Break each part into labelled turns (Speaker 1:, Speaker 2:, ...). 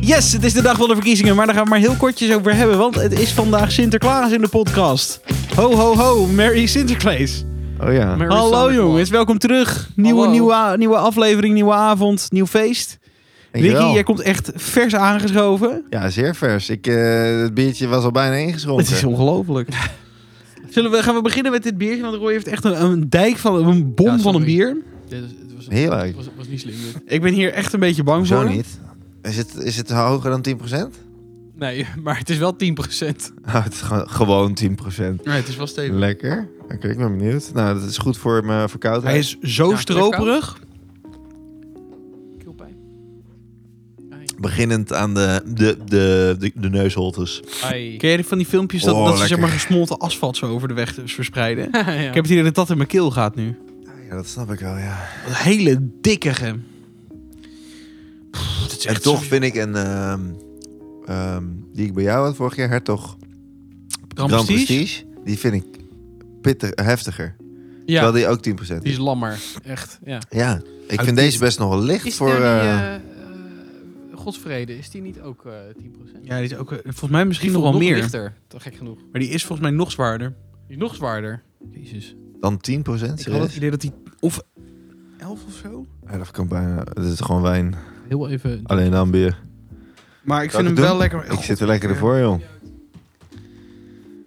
Speaker 1: Yes, het is de dag van de verkiezingen, maar daar gaan we maar heel kortjes over hebben. Want het is vandaag Sinterklaas in de podcast. Ho, ho, ho, Merry Sinterklaas.
Speaker 2: Oh ja.
Speaker 3: Mary
Speaker 1: Hallo
Speaker 3: Sonic
Speaker 1: jongens, welkom terug. Nieuwe,
Speaker 3: Hallo.
Speaker 1: nieuwe, nieuwe aflevering, nieuwe avond, nieuw feest. Ricky,
Speaker 2: Dankjewel.
Speaker 1: jij komt echt vers aangeschoven.
Speaker 2: Ja, zeer vers. Ik, eh, het biertje was al bijna ingeschonken.
Speaker 1: Het is ongelooflijk. Zullen we, gaan we beginnen met dit biertje? Want Roy heeft echt een, een dijk van een bom
Speaker 3: Ja,
Speaker 1: van een
Speaker 3: sorry.
Speaker 1: bier.
Speaker 3: Man. Dit was, het was,
Speaker 2: Heerlijk.
Speaker 3: Het was, was niet slim. dit.
Speaker 1: Ik ben hier echt een beetje bang
Speaker 2: Zo
Speaker 1: voor.
Speaker 2: niet. Is het, is het hoger dan 10%?
Speaker 3: Nee, maar het is wel 10%.
Speaker 2: Nou, het is gewoon- gewoon 10%.
Speaker 3: Nee, het is wel stevig.
Speaker 2: Lekker. Oké, ik ben benieuwd. Nou, dat is goed voor mijn verkoudheid.
Speaker 1: Hij is zo
Speaker 3: Ja,
Speaker 1: stroperig.
Speaker 3: Kielpijn.
Speaker 2: Beginnend aan de, de, de, de, de neusholtes.
Speaker 3: Ai.
Speaker 1: Ken je van die filmpjes dat,
Speaker 2: Oh,
Speaker 1: dat ze zeg
Speaker 2: lekker.
Speaker 1: maar gesmolten asfalt zo over de weg verspreiden?
Speaker 3: ja.
Speaker 1: Ik heb het idee dat dat in mijn keel gaat nu.
Speaker 2: Ja, dat snap ik wel, ja.
Speaker 1: Een hele dikkige.
Speaker 3: het is
Speaker 2: En
Speaker 3: echt
Speaker 2: toch
Speaker 3: zo-
Speaker 2: vind ik een... ehm, ehm, die ik bij jou had vorig jaar, Hertog
Speaker 3: Grand
Speaker 2: Grand
Speaker 3: Prestige?
Speaker 2: Prestige, Die vind ik pittig, heftiger.
Speaker 3: Ja,
Speaker 2: Terwijl die ook 10% is.
Speaker 3: die is lammer. Echt, ja.
Speaker 2: Ja, ik
Speaker 1: Uit
Speaker 2: vind
Speaker 1: dit-
Speaker 2: deze best nog wel licht
Speaker 3: Is
Speaker 2: voor.
Speaker 3: daar die,
Speaker 2: eh,
Speaker 3: eh, eh, Godsvrede, is die niet ook eh 10%?
Speaker 1: Ja, die is ook eh, volgens mij misschien nog
Speaker 3: voelt
Speaker 1: wel meer.
Speaker 3: lichter, toch gek genoeg.
Speaker 1: Maar die is volgens mij nog zwaarder.
Speaker 3: Die is nog zwaarder. Jezus.
Speaker 2: dan 10
Speaker 1: Ik had het idee dat die... Of 11 of zo?
Speaker 2: Ja, dat kan bijna. Het is gewoon wijn.
Speaker 3: Heel even...
Speaker 2: Alleen dan bier.
Speaker 1: Maar ik
Speaker 2: Zal
Speaker 1: vind
Speaker 2: ik
Speaker 1: hem
Speaker 2: het
Speaker 1: wel
Speaker 2: doen?
Speaker 1: lekker.
Speaker 2: Ik zit er lekker voor, joh.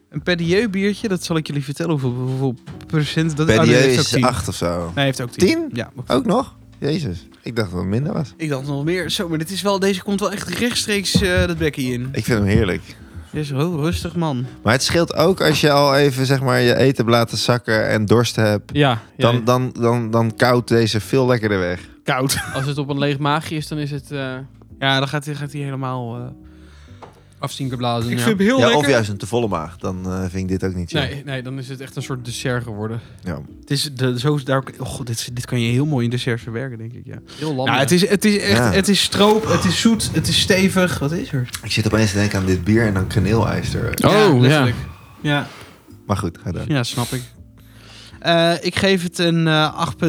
Speaker 1: Een Pedieu biertje, dat zal ik jullie vertellen hoeveel, hoeveel procent... Dat,
Speaker 2: Bij
Speaker 1: oh, nee,
Speaker 2: die
Speaker 1: heeft ook
Speaker 2: is
Speaker 1: 10.
Speaker 2: 8 of zo.
Speaker 1: Nee, hij heeft ook 10.
Speaker 2: 10?
Speaker 1: Ja.
Speaker 2: Ook nog? Jezus. Ik dacht dat het minder was.
Speaker 1: Ik dacht nog meer. Zo, maar dit is wel, deze komt wel echt rechtstreeks eh dat bekkie in.
Speaker 2: Ik vind hem heerlijk.
Speaker 1: Dit is heel rustig, man.
Speaker 2: Maar het scheelt ook als je al even zeg maar, je eten hebt laten zakken en dorst hebt.
Speaker 3: Ja, ja,
Speaker 2: Dan, dan, dan, dan koudt deze veel lekkerder weg.
Speaker 1: Koud.
Speaker 3: als het op een leeg maagje is, dan is het eh
Speaker 1: Ja, dan gaat hij gaat hij helemaal... eh,
Speaker 3: afzien geblazen.
Speaker 1: ik
Speaker 3: ja.
Speaker 1: vind hem heel
Speaker 2: Ja,
Speaker 1: lekker.
Speaker 2: of juist een te volle maag. Dan eh, vind ik dit ook niet chill.
Speaker 3: Nee, nee, dan is het echt een soort dessert geworden.
Speaker 2: Ja.
Speaker 1: Het is de, zo, daar, oh god, dit, is- dit kan je heel mooi in desserts verwerken, denk ik, ja.
Speaker 3: Heel lam.
Speaker 1: Nou, het is, het is echt,
Speaker 2: Ja.
Speaker 1: het is stroop, het is zoet, het is stevig. Wat is er?
Speaker 2: Ik zit opeens te denken aan dit bier en dan kaneelijs er.
Speaker 3: Oh, ja.
Speaker 1: letterlijk. Ja,
Speaker 2: Maar goed, ga door.
Speaker 1: ja, snap ik. Eh, ik geef het een eh, 8.0.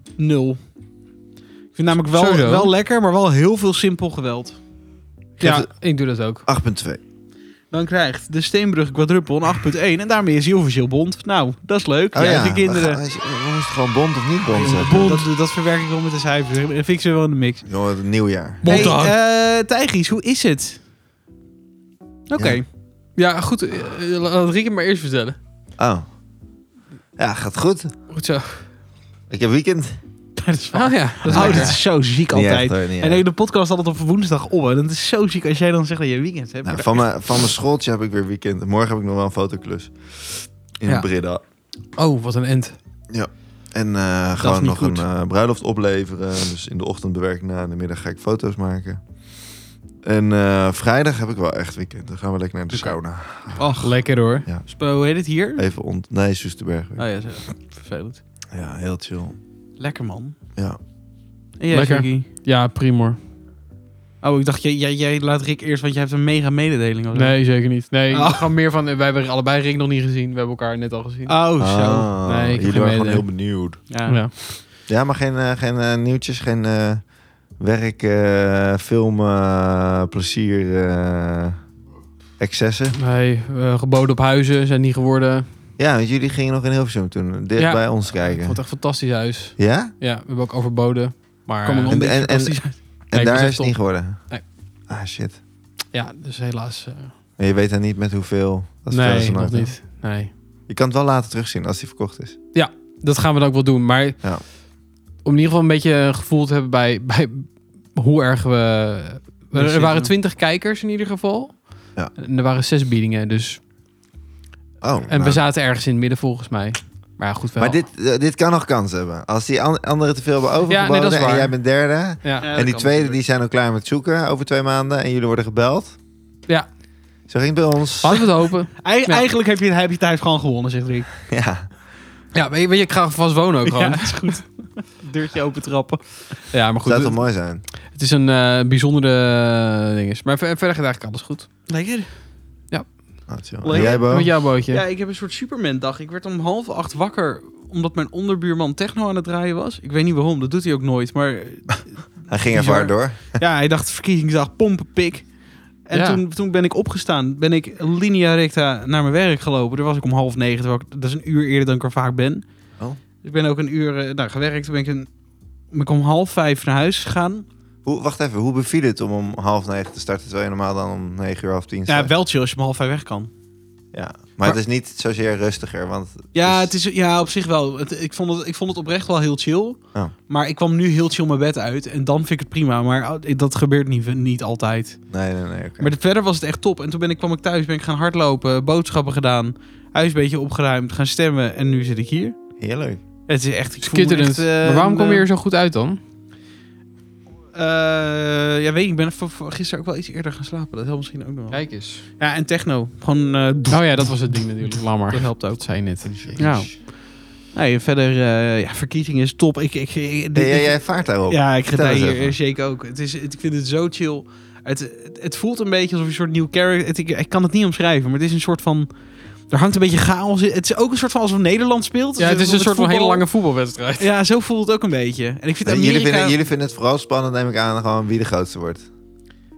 Speaker 1: ik vind namelijk wel,
Speaker 3: Pseudo.
Speaker 1: wel lekker, maar wel heel veel simpel geweld. Ja,
Speaker 3: Ja, ik doe dat ook.
Speaker 2: 8,2.
Speaker 1: dan krijgt de Steenbrug Quadruple een 8.1 en daarmee is hij officieel bond. Nou, dat is leuk.
Speaker 2: Oh
Speaker 1: ja, de kinderen.
Speaker 2: Dan is het gewoon bond of niet bond
Speaker 1: Jongen,
Speaker 2: zeggen.
Speaker 1: Dat, dat verwerk ik wel met de cijfers. Ik fix ze wel in de mix.
Speaker 2: Jongen, het nieuwjaar.
Speaker 1: Hey,
Speaker 3: Bondag.
Speaker 1: eh, Tijgies, hoe is het? Oké.
Speaker 2: Ja.
Speaker 3: Ja, goed. eh, eh, Laat Rick het maar eerst vertellen.
Speaker 2: Oh. Ja, gaat goed.
Speaker 3: Goed zo.
Speaker 2: Ik heb weekend.
Speaker 1: Dat is
Speaker 3: Oh ja, dat is
Speaker 1: Oh,
Speaker 3: lekker.
Speaker 1: dat is zo ziek
Speaker 2: Niet
Speaker 1: altijd.
Speaker 2: echt, hoor, niet
Speaker 1: En
Speaker 2: echt.
Speaker 1: ik de podcast altijd op woensdag op. En dat is zo ziek als jij dan zegt dat je weekend hebt.
Speaker 2: Nou, van, mijn, van mijn schooltje heb ik weer weekend. Morgen heb ik nog wel een fotoclus. In
Speaker 1: Ja.
Speaker 2: Breda.
Speaker 3: Oh, wat een end.
Speaker 2: En eh, gewoon
Speaker 1: niet
Speaker 2: nog
Speaker 1: goed.
Speaker 2: een eh, bruiloft opleveren. Dus in de ochtend bewerk ik na. In de middag ga ik foto's maken. En eh, vrijdag heb ik wel echt weekend. Dan gaan we lekker naar de
Speaker 1: Oké.
Speaker 2: sauna.
Speaker 1: Ach,
Speaker 3: Lekker hoor.
Speaker 1: Spo, hoe heet het hier?
Speaker 2: Even ont... Nee, Soesterberg. weer.
Speaker 1: Oh ja, zo. vervelend.
Speaker 2: Ja, heel chill.
Speaker 1: Lekker man.
Speaker 2: Ja.
Speaker 1: En jij,
Speaker 3: Lekker.
Speaker 1: Vicky?
Speaker 3: Ja, primor.
Speaker 1: Oh, ik dacht, jij, jij, jij laat Rick eerst, want jij hebt een mega mededeling. of zo.
Speaker 3: Nee, zeker niet. Nee,
Speaker 1: Oh.
Speaker 3: gewoon meer van... eh, Wij hebben allebei Rick nog niet gezien. We hebben elkaar net al gezien.
Speaker 1: Oh, zo.
Speaker 2: Ah,
Speaker 3: Nee, ik heb geen
Speaker 2: jullie waren gewoon
Speaker 3: mededeling.
Speaker 2: heel benieuwd.
Speaker 1: Ja.
Speaker 3: Ja.
Speaker 2: Ja, maar geen, eh, geen eh, nieuwtjes, geen eh, werk, eh, film, eh, plezier, eh, excessen.
Speaker 3: Nee, eh, geboden op huizen zijn niet geworden.
Speaker 2: Ja, want jullie gingen nog in Hilversum toen, dicht
Speaker 3: Ja.
Speaker 2: bij ons
Speaker 3: Ik vond
Speaker 2: kijken.
Speaker 3: het echt een fantastisch huis.
Speaker 2: Ja?
Speaker 3: Ja, we hebben ook overboden. Maar
Speaker 1: Kom er nog
Speaker 3: eh,
Speaker 1: een
Speaker 2: en-
Speaker 1: beetje
Speaker 2: en- en-
Speaker 1: fantastisch uit.
Speaker 2: En
Speaker 3: Nee, ik was
Speaker 2: daar is
Speaker 3: echt
Speaker 2: het
Speaker 3: op.
Speaker 2: niet geworden?
Speaker 3: Nee.
Speaker 2: Ah, shit.
Speaker 3: ja, dus helaas... eh,
Speaker 2: En je weet dan niet met hoeveel. Dat is veel als
Speaker 3: nee,
Speaker 2: een
Speaker 3: nog
Speaker 2: auto.
Speaker 3: niet. Nee.
Speaker 2: Je kan het wel later terugzien als die verkocht is.
Speaker 3: Dat gaan we dan ook wel doen. Maar
Speaker 2: Ja.
Speaker 3: om in ieder geval een beetje een gevoel te hebben bij, bij hoe erg we... Er,
Speaker 1: Precies,
Speaker 3: er
Speaker 1: ja.
Speaker 3: waren twintig kijkers in ieder geval.
Speaker 2: Ja.
Speaker 3: En er waren zes biedingen, dus...
Speaker 2: Oh,
Speaker 3: En
Speaker 2: nou.
Speaker 3: we zaten ergens in het midden volgens mij. Maar ja, goed wel.
Speaker 2: Maar dit, eh, dit kan nog kans hebben. Als die an- anderen te veel hebben overgeboden
Speaker 3: nee, dat is
Speaker 2: en
Speaker 3: waar.
Speaker 2: jij bent derde...
Speaker 3: Ja.
Speaker 1: Ja,
Speaker 2: en
Speaker 1: dat
Speaker 2: die
Speaker 1: kan
Speaker 2: tweede
Speaker 1: natuurlijk.
Speaker 2: die zijn al klaar met zoeken over twee maanden en jullie worden gebeld.
Speaker 3: Ja.
Speaker 2: Zo ging het bij ons.
Speaker 3: Hadden we het hopen.
Speaker 1: Ei-
Speaker 3: Ja.
Speaker 1: Eigenlijk heb je, heb je thuis gewoon gewonnen, zegt Rick.
Speaker 2: Ja.
Speaker 3: Ja, weet je, weet je, ik ga vast wonen ook gewoon.
Speaker 1: Ja,
Speaker 3: Ja,
Speaker 1: is goed. Deurtje open trappen.
Speaker 3: maar goed.
Speaker 2: Zou toch
Speaker 3: Het,
Speaker 2: mooi zijn?
Speaker 3: het is een eh, bijzondere eh, ding. Is. Maar ver- verder gaat eigenlijk alles goed.
Speaker 1: Lekker.
Speaker 2: Oh, chill.
Speaker 1: Leuk.
Speaker 2: En jij, Bo?
Speaker 3: Met jouw bootje.
Speaker 1: Ja, ik heb een soort Superman-dag. Ik werd om half acht wakker omdat mijn onderbuurman techno aan het draaien was. Ik weet niet waarom, dat doet hij ook nooit. Maar
Speaker 2: Hij ging even
Speaker 1: Bizar.
Speaker 2: hard door.
Speaker 1: Ja, hij dacht verkiezingsdag pompenpik. En
Speaker 3: Ja.
Speaker 1: toen, toen ben ik opgestaan. Ben ik linea recta naar mijn werk gelopen. Daar was ik om half negen. terwijl ik- Dat is een uur eerder dan ik er vaak ben.
Speaker 2: Oh.
Speaker 1: Dus ik ben ook een uur eh, nou, gewerkt. Toen ben ik, een, ben ik om half vijf naar huis gegaan.
Speaker 2: Hoe, wacht even, hoe beviel het om om half negen te starten, terwijl je normaal dan om negen uur half tien
Speaker 1: Ja,
Speaker 2: staat?
Speaker 1: wel chill als je om half vijf weg kan.
Speaker 2: Ja, maar, het is niet zozeer rustiger, want...
Speaker 1: Ja,
Speaker 2: Dus-
Speaker 1: het is, ja op zich wel. Het, ik, vond het, ik vond het oprecht wel heel chill.
Speaker 2: Ja.
Speaker 1: Maar ik kwam nu heel chill mijn bed uit. En dan vind ik het prima. Maar ah, dat gebeurt niet, niet altijd.
Speaker 2: Nee, nee, nee, oké.
Speaker 1: Maar verder was het echt top. En toen ben ik, kwam ik thuis, ben ik gaan hardlopen, boodschappen gedaan. Huis een beetje opgeruimd, gaan stemmen. En nu zit ik hier.
Speaker 2: Heerlijk.
Speaker 1: Het is echt... ik voel me echt,
Speaker 3: Schitterend.
Speaker 1: eh,
Speaker 3: maar waarom
Speaker 1: een,
Speaker 3: kom je
Speaker 1: eh,
Speaker 3: er zo goed uit dan?
Speaker 1: eh, ja, weet ik. Ik ben v- v- gisteren ook wel iets eerder gaan slapen. Dat helpt misschien ook nog wel.
Speaker 3: Kijk eens.
Speaker 1: Ja, en techno. Gewoon... eh,
Speaker 3: Oh ja, dat was het ding natuurlijk. Lammer.
Speaker 1: dat helpt ook.
Speaker 3: Dat zei je net.
Speaker 1: Ja. Nee, verder... eh, ja, verkiezing is top. Ik... ik, ik-
Speaker 2: Nee, jij, jij vaart daarop.
Speaker 1: Ja, ik
Speaker 2: Vertel
Speaker 1: gedij
Speaker 2: eens
Speaker 1: hier
Speaker 2: even.
Speaker 1: eh, Shake ook. Het is, het, ik vind het zo chill. Het, het, het voelt een beetje alsof je een soort nieuw character... Het, ik, ik kan het niet omschrijven, maar het is een soort van... Er hangt een beetje chaos in. Het is ook een soort van alsof Nederland speelt.
Speaker 3: Ja, het is
Speaker 1: Dus
Speaker 3: een soort van
Speaker 1: voetbal-
Speaker 3: hele lange voetbalwedstrijd.
Speaker 1: Ja, zo voelt het ook een beetje. En ik vind
Speaker 2: En
Speaker 1: Amerika...
Speaker 2: jullie, vinden, jullie vinden het vooral spannend, neem ik aan, gewoon wie de grootste wordt.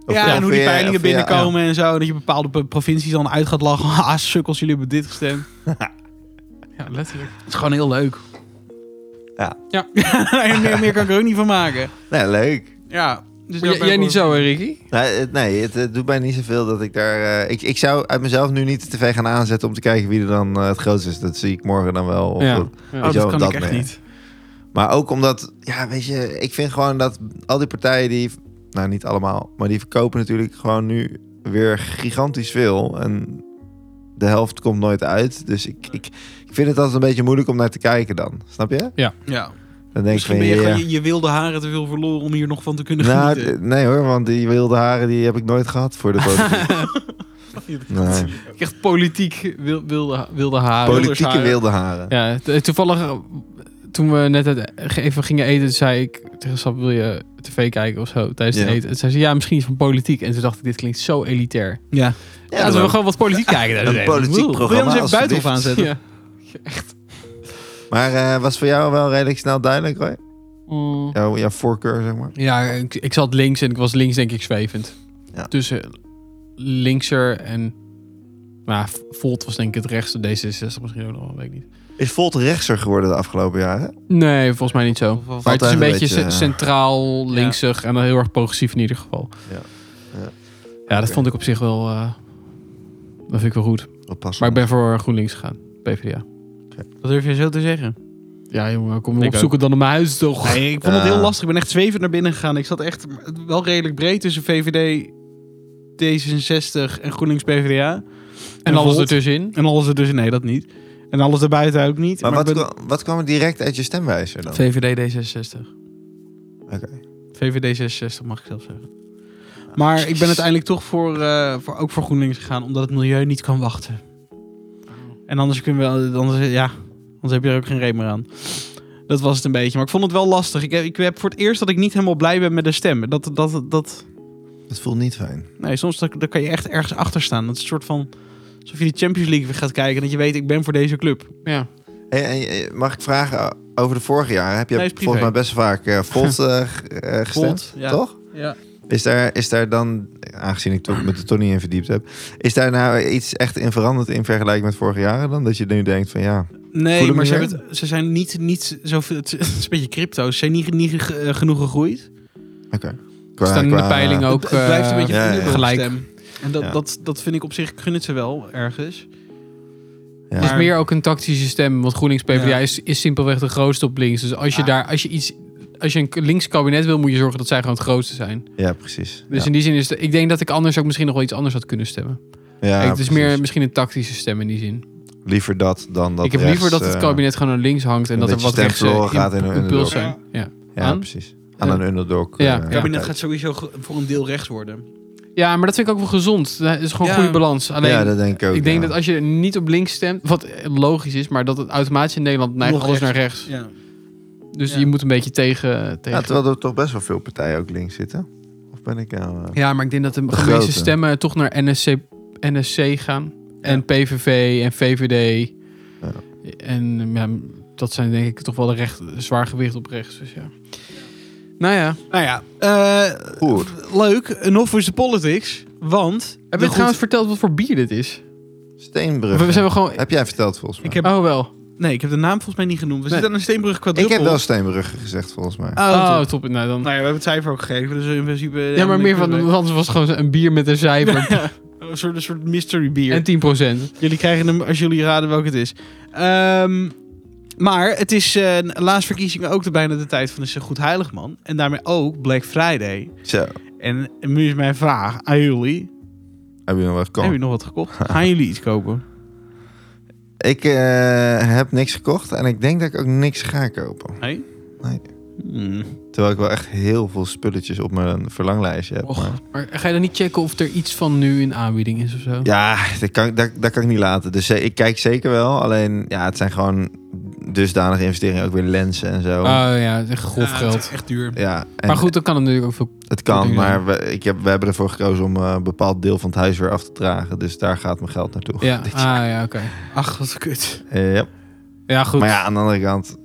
Speaker 2: Of-
Speaker 1: ja,
Speaker 2: of
Speaker 1: en hoe die
Speaker 2: jij-
Speaker 1: peilingen
Speaker 2: of jij-
Speaker 1: binnenkomen en zo. Dat je bepaalde pro- provincies dan uit gaat lachen. Ah, sukkels, jullie hebben dit gestemd.
Speaker 3: Ja, letterlijk.
Speaker 1: Het is gewoon heel leuk.
Speaker 2: Ja.
Speaker 3: Ja.
Speaker 1: Nee, meer, meer kan ik er ook niet van maken.
Speaker 2: ja. Nee, leuk.
Speaker 1: Ja. Dus
Speaker 3: Jij,
Speaker 1: daarbij
Speaker 3: jij niet
Speaker 1: hoort-
Speaker 3: zo, hè, Ricky?
Speaker 2: Nee, het, nee, het, eh, doet mij niet zoveel dat ik daar... eh, ik, ik zou uit mezelf nu niet de tv gaan aanzetten om te kijken wie er dan eh, het grootste is. Dat zie ik morgen dan wel. Of,
Speaker 3: Ja.
Speaker 2: of-
Speaker 1: Oh,
Speaker 2: Zo,
Speaker 1: dat kan
Speaker 2: dat
Speaker 1: ik echt
Speaker 2: meer.
Speaker 1: niet.
Speaker 2: Maar ook omdat, ja, weet je, ik vind gewoon dat al die partijen die, nou niet allemaal, maar die verkopen natuurlijk gewoon nu weer gigantisch veel. En de helft komt nooit uit. Dus ik, ik, ik vind het altijd een beetje moeilijk om naar te kijken dan. Snap je?
Speaker 1: Ja.
Speaker 2: Dan denk ik
Speaker 1: Misschien
Speaker 2: van
Speaker 1: ben je,
Speaker 2: ja.
Speaker 1: gewoon je, je wilde haren te veel verloren om hier nog van te kunnen
Speaker 2: Nou,
Speaker 1: genieten.
Speaker 2: d- nee hoor, want die wilde haren die heb ik nooit gehad voor de politiek. eh, Nee,
Speaker 3: Ik echt politiek wil- wilde, wilde haren.
Speaker 2: Politieke wilde haren.
Speaker 3: Ja, t- toevallig eh, toen we net het- even gingen eten, zei ik tegen Sap, wil je tv kijken of zo tijdens het
Speaker 2: Ja.
Speaker 3: eten? En zei ze, ja, misschien iets van politiek. En toen dacht ik, dit klinkt zo elitair.
Speaker 1: Ja.
Speaker 2: Ja,
Speaker 3: Laten we
Speaker 2: dan-
Speaker 3: gewoon wat politiek kijken.
Speaker 2: Een politiek
Speaker 3: programma.
Speaker 1: Wil je
Speaker 2: programma.
Speaker 1: ons even buiten
Speaker 2: alsjeblieft.
Speaker 1: af aanzetten?
Speaker 3: Ja.
Speaker 2: Maar eh, was voor jou wel redelijk snel duidelijk, Roy?
Speaker 3: Mm.
Speaker 2: Jouw, jouw voorkeur, zeg maar.
Speaker 3: Ja, ik, ik zat links en ik was links denk ik zwevend.
Speaker 2: Ja.
Speaker 3: Tussen linkser en... Nou, Volt was denk ik het rechtste. D66 misschien ook nog wel, weet ik niet.
Speaker 2: Is Volt rechtser geworden de afgelopen jaren?
Speaker 3: Nee, volgens mij niet zo.
Speaker 1: Valt
Speaker 3: Maar het is een
Speaker 2: altijd
Speaker 3: beetje,
Speaker 2: een beetje,
Speaker 3: ce-
Speaker 2: eh,
Speaker 3: centraal, linksig en dan heel erg progressief in ieder geval.
Speaker 2: Ja. Ja.
Speaker 3: Ja, dat
Speaker 2: Oké.
Speaker 3: vond ik op zich wel... eh, dat vind ik wel goed.
Speaker 2: Wat past
Speaker 3: Maar ik ben voor GroenLinks gegaan. PvdA.
Speaker 1: Wat durf je zo te zeggen?
Speaker 3: Ja, jongen, kom me
Speaker 1: Ik
Speaker 3: opzoeken dan op mijn huis toch.
Speaker 1: Nee, ik vond het
Speaker 2: Ja.
Speaker 1: heel lastig. Ik ben echt zwevend naar binnen gegaan. Ik zat echt wel redelijk breed tussen VVD, D66 en GroenLinks PvdA.
Speaker 3: en alles
Speaker 1: Volt.
Speaker 3: ertussenin.
Speaker 1: En alles er dus nee, dat niet. En alles erbuiten ook niet.
Speaker 2: Maar,
Speaker 1: ik
Speaker 2: wat,
Speaker 1: ben-
Speaker 2: kwa- wat kwam er direct uit je stemwijzer dan?
Speaker 1: VVD D66.
Speaker 2: Oh. Oké. Ah.
Speaker 1: VVD 66 mag ik zelf zeggen. Maar ik ben uiteindelijk toch voor, eh, voor, ook voor GroenLinks gegaan, omdat het milieu niet kan wachten.
Speaker 2: Oh.
Speaker 1: En anders kunnen we, anders, ja, anders heb je er ook geen reet meer aan. Dat was het een beetje. Maar ik vond het wel lastig. Ik heb, ik heb voor het eerst dat ik niet helemaal blij ben met de stem. Dat, dat, dat,
Speaker 2: Dat voelt niet fijn.
Speaker 1: nee, soms dat, daar kan je echt ergens achter staan. Dat is een soort van, alsof je de Champions League weer gaat kijken. Dat je weet, ik ben voor deze club.
Speaker 3: Ja.
Speaker 2: Hey, hey, hey, mag ik vragen eh, over de vorige jaren? Heb je
Speaker 1: Nee, is privé.
Speaker 2: volgens mij best vaak eh Volt eh, g- eh, gestemd,
Speaker 1: Volt, ja.
Speaker 2: toch?
Speaker 1: Ja.
Speaker 2: Is daar, is daar dan, aangezien ik toch met de Tony in verdiept heb, is daar nou iets echt in veranderd in vergelijking met vorige jaren dan? Dat je nu denkt van ja,
Speaker 1: Nee,
Speaker 2: Voelen
Speaker 1: maar ze,
Speaker 2: milieu?
Speaker 1: hebben het- ze zijn niet, niet zoveel... Het is een beetje crypto. Ze zijn niet, niet ge- eh, genoeg gegroeid.
Speaker 2: oké. Qua-
Speaker 3: Staan in de
Speaker 2: qua-
Speaker 3: peiling ook...
Speaker 1: het, het blijft een
Speaker 3: eh,
Speaker 1: beetje
Speaker 2: ja, ja, ja.
Speaker 1: vulnerable
Speaker 3: gelijk.
Speaker 1: stem. En dat,
Speaker 2: Ja.
Speaker 1: dat, dat vind ik op zich, ik gun het ze wel ergens.
Speaker 2: Ja.
Speaker 3: Het is
Speaker 1: Maar-
Speaker 3: meer ook een tactische stem, want GroenLinks PvdA
Speaker 1: Ja.
Speaker 3: is, is simpelweg de grootste op links. Dus als je
Speaker 1: Ah.
Speaker 3: daar, als je iets, als je een links kabinet wil, moet je zorgen dat zij gewoon het grootste zijn.
Speaker 2: Ja, precies.
Speaker 3: Dus
Speaker 2: ja.
Speaker 3: in die zin is, het- ik denk dat ik anders ook misschien nog wel iets anders had kunnen stemmen.
Speaker 2: Ja,
Speaker 3: Kijk, het is
Speaker 2: precies.
Speaker 3: meer misschien een tactische stem in die zin.
Speaker 2: Liever dat dan dat
Speaker 3: ik heb
Speaker 2: rechts,
Speaker 3: liever dat het
Speaker 2: eh,
Speaker 3: kabinet gewoon naar links hangt en
Speaker 2: een
Speaker 3: dat er
Speaker 2: beetje
Speaker 3: wat rechts
Speaker 2: stemverloren gaat in een
Speaker 3: impuls
Speaker 1: underdog.
Speaker 3: zijn. Ja.
Speaker 2: eh, Ja,
Speaker 3: aan.
Speaker 2: precies. Aan een underdog.
Speaker 3: Ja,
Speaker 2: eh,
Speaker 1: Het
Speaker 2: partij.
Speaker 1: kabinet gaat sowieso ge- voor een deel rechts worden.
Speaker 3: ja, maar dat vind ik ook wel gezond. Dat is gewoon
Speaker 1: Ja.
Speaker 3: goede balans. Alleen,
Speaker 2: ja, dat denk ik ook.
Speaker 3: ik denk
Speaker 2: ja.
Speaker 3: dat als je niet op links stemt, wat eh, logisch is, maar dat het automatisch in Nederland neigt
Speaker 1: Nog
Speaker 3: alles
Speaker 1: rechts.
Speaker 3: naar rechts.
Speaker 1: Ja.
Speaker 3: Dus
Speaker 1: Ja.
Speaker 3: je moet een beetje tegen. tegen
Speaker 2: Ja, terwijl er toch best wel veel partijen ook links zitten. Of ben ik nou... eh,
Speaker 3: Ja, maar ik denk dat de, meeste
Speaker 2: grote.
Speaker 3: stemmen toch naar NSC, NSC gaan. En PVV en VVD.
Speaker 2: Ja.
Speaker 3: En ja, dat zijn denk ik toch wel de recht, zwaar gewicht op rechts. Dus ja. Nou ja.
Speaker 1: Nou ja, eh,
Speaker 2: Goed.
Speaker 1: leuk. Enough is the politics. Want...
Speaker 3: Heb
Speaker 1: de
Speaker 3: je trouwens verteld wat voor bier dit is?
Speaker 2: Steenbrug.
Speaker 3: Nou, We, we zijn gewoon...
Speaker 2: Heb jij verteld volgens mij?
Speaker 1: Ik heb-
Speaker 3: Oh, wel.
Speaker 1: Nee, ik heb de naam volgens mij niet genoemd. We
Speaker 3: Nee.
Speaker 1: zitten aan een Steenbrug
Speaker 2: Ik
Speaker 1: kwadruppel.
Speaker 2: heb wel Steenbrug gezegd volgens mij.
Speaker 1: Oh,
Speaker 3: Oh,
Speaker 1: top.
Speaker 3: top. Nou,
Speaker 1: Nou ja,
Speaker 3: dan...
Speaker 1: we hebben het cijfer ook gegeven, dus in principe...
Speaker 3: Ja, maar meer van... want Anders was het gewoon een bier met een cijfer.
Speaker 1: Een soort, een soort mystery bier.
Speaker 3: En 10
Speaker 1: Jullie krijgen hem als jullie raden welke het is. Ehm, maar het is eh laatst verkiezingen ook de bijna de tijd van de Goed Heiligman. En daarmee ook Black Friday.
Speaker 2: Zo,
Speaker 1: En nu is mijn vraag aan jullie.
Speaker 2: heb je nog wat
Speaker 1: Hebben
Speaker 2: gekocht?
Speaker 1: jullie nog wat gekocht? Gaan jullie iets kopen?
Speaker 2: Ik eh, heb niks gekocht en ik denk dat ik ook niks ga kopen.
Speaker 1: Nee?
Speaker 2: Nee.
Speaker 1: Hmm.
Speaker 2: Terwijl ik wel echt heel veel spulletjes op mijn verlanglijstje heb. maar-
Speaker 3: Och, maar ga je dan niet checken of er iets van nu in aanbieding is of zo?
Speaker 2: Ja, dat kan, dat, dat kan ik niet laten. Dus eh, ik kijk zeker wel. Alleen, ja, het zijn gewoon dusdanige investeringen. Ook weer lenzen en zo.
Speaker 3: Oh ja, het is echt grof
Speaker 1: Ja, het
Speaker 3: geld.
Speaker 1: is echt duur.
Speaker 2: ja, en
Speaker 3: Maar goed, dan kan het natuurlijk ook veel...
Speaker 2: het
Speaker 3: goed
Speaker 2: kan.
Speaker 3: ding
Speaker 2: Maar we, ik heb, we hebben ervoor gekozen om eh, een bepaald deel van het huis weer af te dragen. Dus daar gaat mijn geld naartoe.
Speaker 3: Ja,
Speaker 2: Dit-
Speaker 3: ah ja, oké.
Speaker 1: Ach, wat kut.
Speaker 2: Eh, ja.
Speaker 3: Ja, goed.
Speaker 2: Maar ja, aan de andere kant,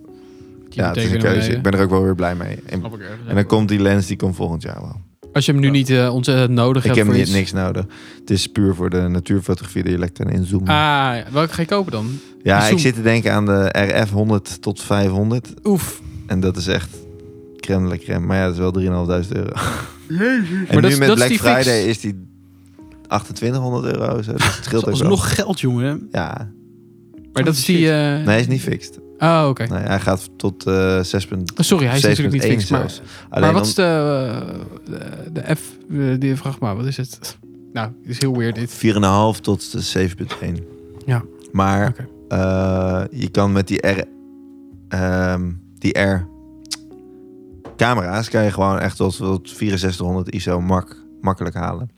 Speaker 2: ja, het is een keuze. Ik ben er ook wel weer blij mee. En, en dan komt die lens, die komt volgend jaar wel.
Speaker 3: Als je hem nu niet eh, ontzettend nodig
Speaker 2: Ik
Speaker 3: hebt
Speaker 2: heb
Speaker 3: voor
Speaker 2: niet,
Speaker 3: iets.
Speaker 2: niks nodig. Het is puur voor de natuurfotografie, de elect en inzoomen.
Speaker 3: Ah, ja. welke ga je kopen dan?
Speaker 2: ja, ik
Speaker 3: zoom.
Speaker 2: zit te denken aan de RF 100 tot 500.
Speaker 3: Oef.
Speaker 2: En dat is echt crème de la crème. Maar ja, dat is wel 3.500 euro. En
Speaker 3: dat
Speaker 2: nu
Speaker 3: is-
Speaker 2: met
Speaker 3: dat is
Speaker 2: Black
Speaker 3: die
Speaker 2: Friday
Speaker 3: fix.
Speaker 2: is die 2800 euro. Zo. Dus het scheelt
Speaker 1: Dat
Speaker 2: ook
Speaker 1: is
Speaker 2: wel.
Speaker 1: nog geld, jongen.
Speaker 2: Ja,
Speaker 3: Maar dat is die... eh,
Speaker 2: nee, hij is niet fixed.
Speaker 3: Oh, oké. Oh,
Speaker 2: Nee, hij gaat tot eh 6.
Speaker 3: Sorry, hij is natuurlijk niet
Speaker 2: 7.1
Speaker 3: fix, maar...
Speaker 2: zelfs.
Speaker 3: maar
Speaker 2: Alleen
Speaker 3: wat
Speaker 2: om-
Speaker 3: is de, eh, de, de F, eh, die vraag maar, wat is het? Nou, het is heel weird dit.
Speaker 2: 4,5 tot de 7.1.
Speaker 3: Ja.
Speaker 2: Maar
Speaker 3: Oké.
Speaker 2: eh, je kan met die R... ehm, die R... Camera's kan je gewoon echt tot, tot 6400 ISO mak, makkelijk halen.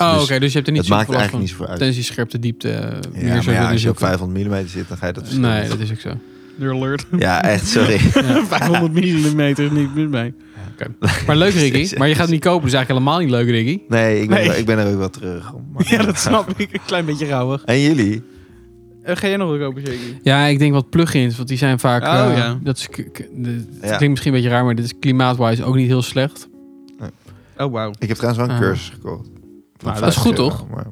Speaker 3: Oh,
Speaker 2: Dus
Speaker 3: oké, dus je hebt er niet
Speaker 2: het
Speaker 3: zo
Speaker 2: maakt
Speaker 3: veel
Speaker 2: eigenlijk
Speaker 3: last van.
Speaker 2: niet zoveel uit.
Speaker 3: Tensie, scherpte, diepte, eh,
Speaker 2: Ja,
Speaker 3: meer
Speaker 2: maar
Speaker 3: zo.
Speaker 2: ja,
Speaker 3: dat
Speaker 2: als
Speaker 3: is
Speaker 2: je op
Speaker 3: ook-
Speaker 2: 500 mm zit, dan ga je dat verschil
Speaker 3: Nee,
Speaker 2: niet
Speaker 3: dat is ook zo.
Speaker 1: Deur alert.
Speaker 2: Ja, echt, sorry.
Speaker 3: Ja.
Speaker 1: 500 millimeter, niet meer bij.
Speaker 3: Maar leuk, Ricky. Maar je gaat het niet kopen, dus eigenlijk helemaal niet leuk, Ricky.
Speaker 2: Nee, ik ben,
Speaker 1: Nee.
Speaker 2: Er, ik ben er ook wel terug om. maar-
Speaker 1: Ja, dat snap ik. Een klein beetje rauwig.
Speaker 2: En jullie?
Speaker 1: Eh, ga jij nog wat kopen, zeker?
Speaker 3: Ja, ik denk wat plugins, want die zijn vaak...
Speaker 1: Oh,
Speaker 3: eh,
Speaker 1: ja.
Speaker 3: Dat is, k- k- de- het
Speaker 2: Ja.
Speaker 3: klinkt misschien een beetje raar, maar dit is klimaatwise ook niet heel slecht.
Speaker 1: Oh, wauw.
Speaker 2: Ik heb trouwens wel een
Speaker 3: Ah.
Speaker 2: cursus gekocht. Van
Speaker 1: Nou, dat is
Speaker 2: 50
Speaker 3: goed,
Speaker 2: euro,
Speaker 3: toch?
Speaker 2: maar-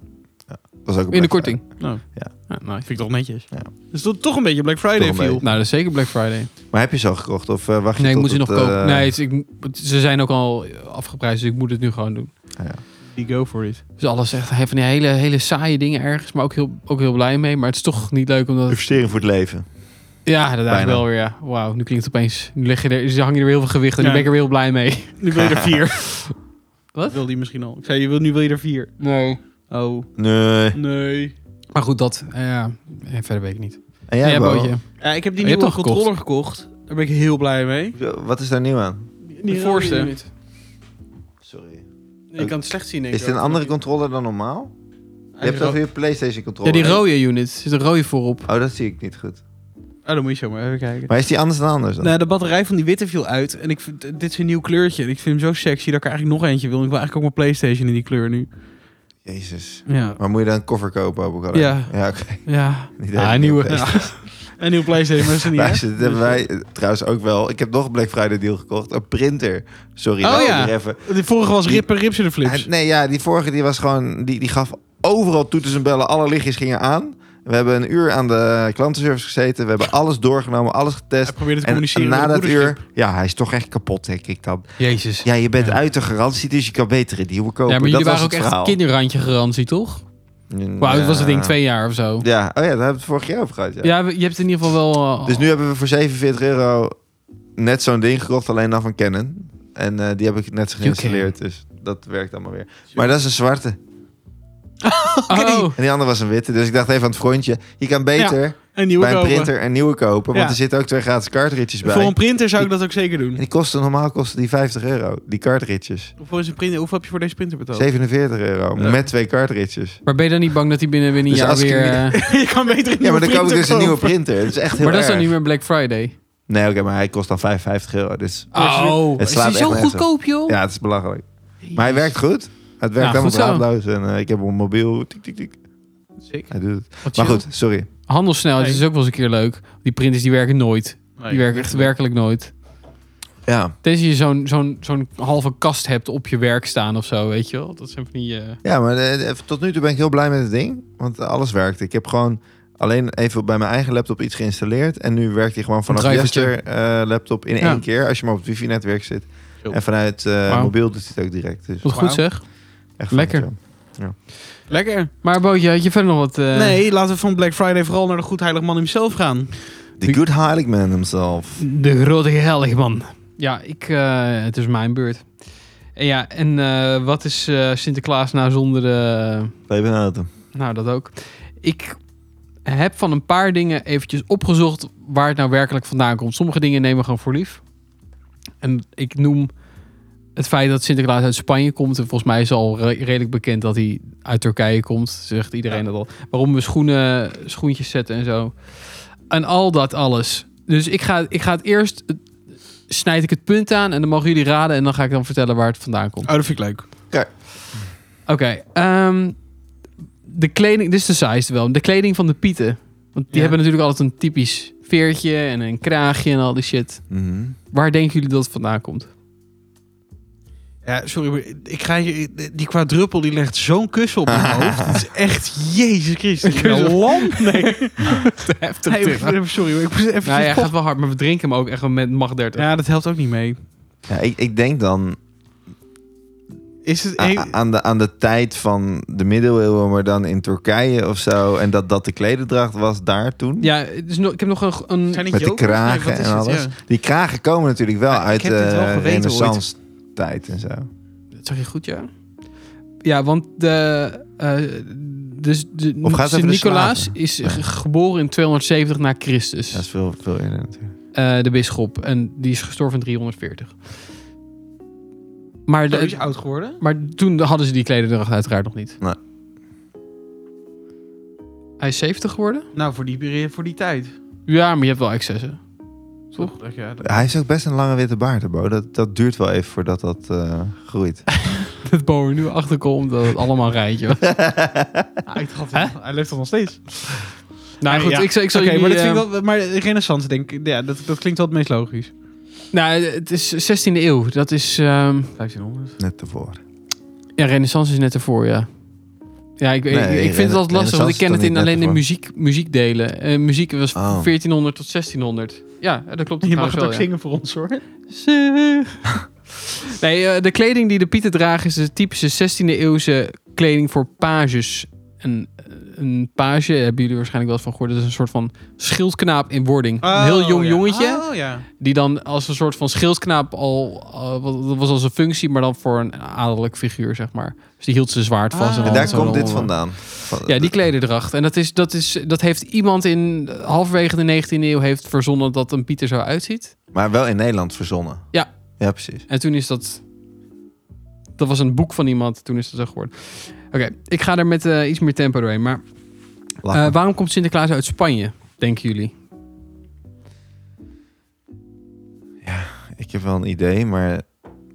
Speaker 2: ja, was ook een
Speaker 3: In de
Speaker 2: Black
Speaker 3: korting.
Speaker 1: Nou,
Speaker 3: Oh. Ja, nice.
Speaker 1: vind ik toch netjes.
Speaker 2: Ja.
Speaker 1: Dus dat toch een beetje Black Friday
Speaker 2: Toch een
Speaker 1: viel.
Speaker 2: beetje.
Speaker 3: Nou, dat is zeker Black Friday.
Speaker 2: Friday. Maar heb je ze al gekocht? Of eh, wacht je
Speaker 3: Nee, ik
Speaker 2: tot
Speaker 3: moet ze nog
Speaker 2: het,
Speaker 3: kopen.
Speaker 2: eh,
Speaker 3: Nee, het is- ik, het- ze zijn ook al afgeprijsd, dus ik moet het nu gewoon doen.
Speaker 2: ah, ja.
Speaker 1: Die go for it.
Speaker 3: Dus alles echt van die hele, hele saaie dingen ergens, maar ook heel, ook heel blij mee. Maar het is toch niet leuk omdat... Het,
Speaker 2: Investering voor het leven.
Speaker 3: ja, dat
Speaker 2: Bijna.
Speaker 3: wel weer. Ja. Wauw, nu klinkt het opeens... Nu leg je er, hang je er weer heel veel gewicht en
Speaker 1: Ja.
Speaker 3: nu ben ik er weer heel blij mee.
Speaker 1: Nu wil je er vier.
Speaker 3: Wat?
Speaker 1: Wil die misschien al. Ik zei, je wil, nu wil je er vier.
Speaker 3: Nee.
Speaker 1: Oh,
Speaker 2: Nee.
Speaker 1: nee.
Speaker 3: Maar goed, dat... eh, ja, en verder weet ik niet.
Speaker 2: En jij, Bo?
Speaker 3: bootje.
Speaker 1: Ja, ik heb die
Speaker 3: Oh, je
Speaker 1: nieuwe
Speaker 3: hebt al
Speaker 1: controller gekocht. Daar ben ik heel blij mee.
Speaker 2: Zo, Wat is daar nieuw aan?
Speaker 1: De voorste.
Speaker 2: Sorry.
Speaker 3: Ik kan het slecht zien, denk
Speaker 2: Is
Speaker 3: ik.
Speaker 2: het een andere controller dan normaal? Je hebt toch weer PlayStation
Speaker 3: Ja,
Speaker 2: controller?
Speaker 3: die rode unit. Er zit een rode voorop.
Speaker 2: Oh, dat zie ik niet goed.
Speaker 1: Oh, dan moet je zo maar even kijken.
Speaker 2: Maar is die anders dan anders dan?
Speaker 1: Nou, de batterij van die witte viel uit. En ik vind, dit is een nieuw kleurtje. En ik vind hem zo sexy dat ik er eigenlijk nog eentje wil. Ik wil eigenlijk ook mijn Playstation in die kleur nu.
Speaker 2: Jezus.
Speaker 1: Ja.
Speaker 2: Maar moet je dan een koffer kopen? Hoop ik alleen?
Speaker 1: Ja.
Speaker 2: Ja, oké.
Speaker 1: Ja.
Speaker 2: Niet
Speaker 3: Ah,
Speaker 2: helemaal
Speaker 3: nieuwe.
Speaker 2: PlayStation.
Speaker 1: Een nieuw Playstation, maar is er niet, hè?
Speaker 2: Luister, dit hebben wij eh, trouwens ook wel. Ik heb nog een Black Friday deal gekocht. Een printer. Sorry,
Speaker 1: Oh
Speaker 2: laat ik
Speaker 1: ja.
Speaker 2: er even.
Speaker 1: De vorige was
Speaker 2: Die-
Speaker 1: Rip en Rips in de flips.
Speaker 2: Hij- nee, ja, die vorige die was gewoon. Die, die gaf overal toeters en bellen. Alle lichtjes gingen aan. We hebben een uur aan de klantenservice gezeten. We hebben alles doorgenomen, alles
Speaker 1: Hij
Speaker 2: getest.
Speaker 1: probeerde te
Speaker 2: En, en
Speaker 1: communiceren
Speaker 2: na
Speaker 1: met
Speaker 2: dat
Speaker 1: het moederschip.
Speaker 2: uur, ja, hij is toch echt kapot, denk ik dan.
Speaker 3: Jezus.
Speaker 2: Ja, je bent
Speaker 3: Ja.
Speaker 2: uit de garantie, dus je kan betere deal kopen.
Speaker 3: Ja, maar
Speaker 2: dat was
Speaker 3: jullie waren ook
Speaker 2: het
Speaker 3: echt
Speaker 2: verhaal.
Speaker 3: kinderrandje garantie, toch?
Speaker 2: Mm,
Speaker 3: Hoe oud was het ding?
Speaker 2: ja.
Speaker 3: Twee jaar of zo?
Speaker 2: Ja, oh ja, daar hebben we het vorig jaar over gehad. Ja.
Speaker 3: Ja, we- je hebt in ieder geval wel... eh,
Speaker 2: Dus nu hebben we voor 47 euro net zo'n ding gekocht, alleen dan van Canon. En eh, die heb ik net geïnstalleerd, dus dat werkt allemaal weer. Maar dat is een zwarte.
Speaker 3: Oh,
Speaker 2: En die andere was een witte, dus ik dacht even aan het frontje. Je kan beter
Speaker 1: Een nieuwe
Speaker 2: bij een
Speaker 1: kopen.
Speaker 2: printer een nieuwe kopen, want
Speaker 1: Ja.
Speaker 2: er zitten ook twee gratis cartridges bij.
Speaker 1: Voor een printer zou ik dat ook zeker doen.
Speaker 2: En die kosten, normaal kosten die 50 euro, die cartridges.
Speaker 1: Hoeveel, is een printer, hoeveel heb je voor deze printer betaald?
Speaker 2: 47 euro,
Speaker 1: Ja.
Speaker 2: met twee cartridges.
Speaker 3: maar ben je dan niet bang dat die binnen weer een
Speaker 2: Dus
Speaker 3: jaar
Speaker 2: als ik
Speaker 3: weer...
Speaker 2: niet-
Speaker 3: eh,
Speaker 1: je kan beter een
Speaker 2: Ja, maar dan koop
Speaker 1: nieuwe
Speaker 2: ik dus een
Speaker 1: printer
Speaker 2: nieuwe
Speaker 1: kopen.
Speaker 2: printer. Dat is echt heel
Speaker 3: maar dat is
Speaker 2: erg.
Speaker 3: dan niet meer Black Friday.
Speaker 2: Nee, oké, maar hij kost dan 55 euro, dus
Speaker 1: Ah.
Speaker 3: Oh,
Speaker 2: Het
Speaker 3: het
Speaker 2: slaat
Speaker 3: is die
Speaker 2: echt
Speaker 3: zo
Speaker 2: nergens op.
Speaker 3: goedkoop, joh?
Speaker 2: ja, het is belachelijk. Maar hij werkt goed. Het werkt
Speaker 3: Ja,
Speaker 2: helemaal
Speaker 3: Nou, goed zo.
Speaker 2: draadloos en eh, ik heb hem mobiel. Tik, tik, tik. Hij doet het.
Speaker 3: Wat
Speaker 2: Maar
Speaker 3: chill.
Speaker 2: goed, sorry.
Speaker 3: Handelssnelheid
Speaker 1: Nee.
Speaker 3: is ook wel eens een keer leuk. Die printers die werken nooit. Die werken echt werkelijk nooit.
Speaker 2: Ja.
Speaker 3: Tenzij je zo'n zo'n zo'n halve kast hebt op je werk staan of zo, weet je wel. Dat zijn van die... eh,
Speaker 2: ja, maar eh, tot nu toe ben ik heel blij met het ding. Want alles werkte. Ik heb gewoon alleen even bij mijn eigen laptop iets geïnstalleerd. En nu werkt hij gewoon vanaf
Speaker 3: Drivertje.
Speaker 2: Jester eh, laptop in
Speaker 3: Ja.
Speaker 2: één keer. Als je maar op het wifi-netwerk zit.
Speaker 1: Zo.
Speaker 2: En vanuit eh,
Speaker 3: Wauw.
Speaker 2: mobiel doet hij het ook direct. Dus
Speaker 3: wat goed
Speaker 1: Wauw.
Speaker 3: zeg.
Speaker 2: echt
Speaker 3: Lekker.
Speaker 2: vet,
Speaker 1: Lekker.
Speaker 3: Maar Bootje, had je verder nog wat... eh,
Speaker 1: nee, laten we van Black Friday vooral naar de goed heilig man himself gaan.
Speaker 2: ja. The good Heilig man himself.
Speaker 3: De grote heilig man. Ja, ik, eh, het is mijn beurt. En ja, en eh, wat is eh, Sinterklaas nou zonder... eh,
Speaker 2: Leven auto.
Speaker 3: nou, dat ook. Ik heb van een paar dingen eventjes opgezocht waar het nou werkelijk vandaan komt. Sommige dingen nemen we gewoon voor lief. En ik noem het feit dat Sinterklaas uit Spanje komt. En volgens mij is al re- redelijk bekend dat hij uit Turkije komt. Zegt iedereen dat al. Waarom we schoenen, schoentjes zetten en zo. En al dat alles. Dus ik ga, ik ga het eerst... eh, Snijd ik het punt aan en dan mogen jullie raden. En dan ga ik dan vertellen waar het vandaan komt.
Speaker 1: Oh, dat vind ik leuk.
Speaker 3: Oké. ehm, de kleding, dit is de size wel. De kleding van de Pieten. Want die
Speaker 1: Ja.
Speaker 3: hebben natuurlijk altijd een typisch veertje en een kraagje en al die shit.
Speaker 2: Mhm.
Speaker 3: Waar denken jullie dat het vandaan komt?
Speaker 1: Ja, sorry, maar ik ga hier, die quadruppel die legt zo'n kussen op mijn hoofd. Het is echt, jezus Christus.
Speaker 3: Een kussen?
Speaker 1: Een lamp? Nee,
Speaker 3: Te heftig.
Speaker 1: nee maar- sorry, maar ik moest even
Speaker 3: nou ja,
Speaker 1: ja,
Speaker 3: gaat wel hard, maar we drinken hem ook echt wel met mag 30.
Speaker 1: dat helpt ook niet mee.
Speaker 2: Ja, ik, ik denk dan
Speaker 1: Is het...
Speaker 2: a-
Speaker 1: hey,
Speaker 2: a- aan, de, aan de tijd van de middeleeuwen, maar dan in Turkije of zo. En dat dat de klededracht was daar toen.
Speaker 3: Ja, het is nog- ik heb nog een, een
Speaker 1: zijn dit
Speaker 2: Met de
Speaker 1: jokers?
Speaker 2: kragen
Speaker 1: wat is
Speaker 2: en
Speaker 1: het?
Speaker 2: alles.
Speaker 1: Ja.
Speaker 2: Die kragen komen natuurlijk wel
Speaker 1: Ja, ik
Speaker 2: uit
Speaker 1: heb dit wel
Speaker 2: de
Speaker 1: geweten ooit.
Speaker 2: renaissance tijd en zo.
Speaker 3: Dat zag je goed, ja? Ja, want de, eh, dus de,
Speaker 2: Of gaat het
Speaker 3: Sint
Speaker 2: over de
Speaker 3: Nicolaas
Speaker 2: slaven?
Speaker 3: is ge- geboren in 270 na Christus.
Speaker 2: Ja, dat is veel, veel eerder natuurlijk.
Speaker 3: eh, de bisschop. En die is gestorven in 340. Maar, de-
Speaker 1: Oh, die is oud geworden?
Speaker 3: maar toen hadden ze die klederdracht uiteraard nog niet.
Speaker 2: Nee.
Speaker 3: Hij is 70 geworden?
Speaker 1: Nou, voor die, peri- voor die tijd.
Speaker 3: Ja, maar je hebt wel excessen. Toch?
Speaker 1: Toch? Ja, dat-
Speaker 2: Hij is ook best een lange witte baard, hè, Bo. Dat, dat duurt wel even voordat dat eh, groeit.
Speaker 3: Dat Bo er nu achter komt dat het allemaal rijtje.
Speaker 1: Ah, ik dacht, hij leeft toch nog steeds?
Speaker 3: nou goed,
Speaker 1: Ja.
Speaker 3: ik, zal- ik zal
Speaker 1: Oké,
Speaker 3: jullie...
Speaker 1: maar, dat
Speaker 3: eh,
Speaker 1: vind ik wel, maar de renaissance denk ik, ja, dat, dat klinkt wel het meest logisch.
Speaker 3: Nou, het is 16e eeuw. Dat is... ehm,
Speaker 1: 1500.
Speaker 2: Net tevoren.
Speaker 3: ja, renaissance is net ervoor, ja. Ja, ik, ik-
Speaker 2: Nee,
Speaker 3: ik, vind het altijd lastig, want ik ken
Speaker 2: Renaissance
Speaker 3: het
Speaker 2: is dan
Speaker 3: in,
Speaker 2: niet
Speaker 3: alleen
Speaker 2: net
Speaker 3: in muziek, muziekdelen. Eh, muziek was
Speaker 2: Oh.
Speaker 3: 1400 tot 1600. Ja, dat klopt.
Speaker 1: Je mag
Speaker 3: trouwens
Speaker 1: het
Speaker 3: wel,
Speaker 1: ook
Speaker 3: ja.
Speaker 1: zingen voor ons hoor.
Speaker 3: nee, eh, de kleding die de Pieten dragen is de typische 16e eeuwse kleding voor pages. Een, een page, hebben jullie waarschijnlijk wel eens van gehoord, dat is een soort van schildknaap in wording. een heel jong jongetje,
Speaker 2: Ah.
Speaker 1: Oh ja.
Speaker 3: die dan als een soort van schildknaap al, eh, wat- dat was als een functie, maar dan voor een adellijk figuur, zeg maar. Dus die hield zijn zwaard vast.
Speaker 1: Ah.
Speaker 3: en
Speaker 2: En
Speaker 1: Oh,
Speaker 2: daar
Speaker 3: zo
Speaker 2: komt dit
Speaker 3: allemaal.
Speaker 2: vandaan. Van-
Speaker 3: eh, Ja, die klederdracht. En dat, is, dat, is, dat heeft iemand in halverwege de 19e eeuw heeft verzonnen dat een Pieter zo uitziet.
Speaker 2: Maar wel in Nederland verzonnen.
Speaker 3: Ja.
Speaker 2: Ja, precies.
Speaker 3: En toen is dat. Dat was een boek van iemand. Toen is dat zo geworden. Oké, ik ga er met eh, iets meer tempo doorheen. Maar
Speaker 2: Lachen.
Speaker 3: eh, waarom komt Sinterklaas uit Spanje, denken jullie?
Speaker 2: ik heb wel een idee, maar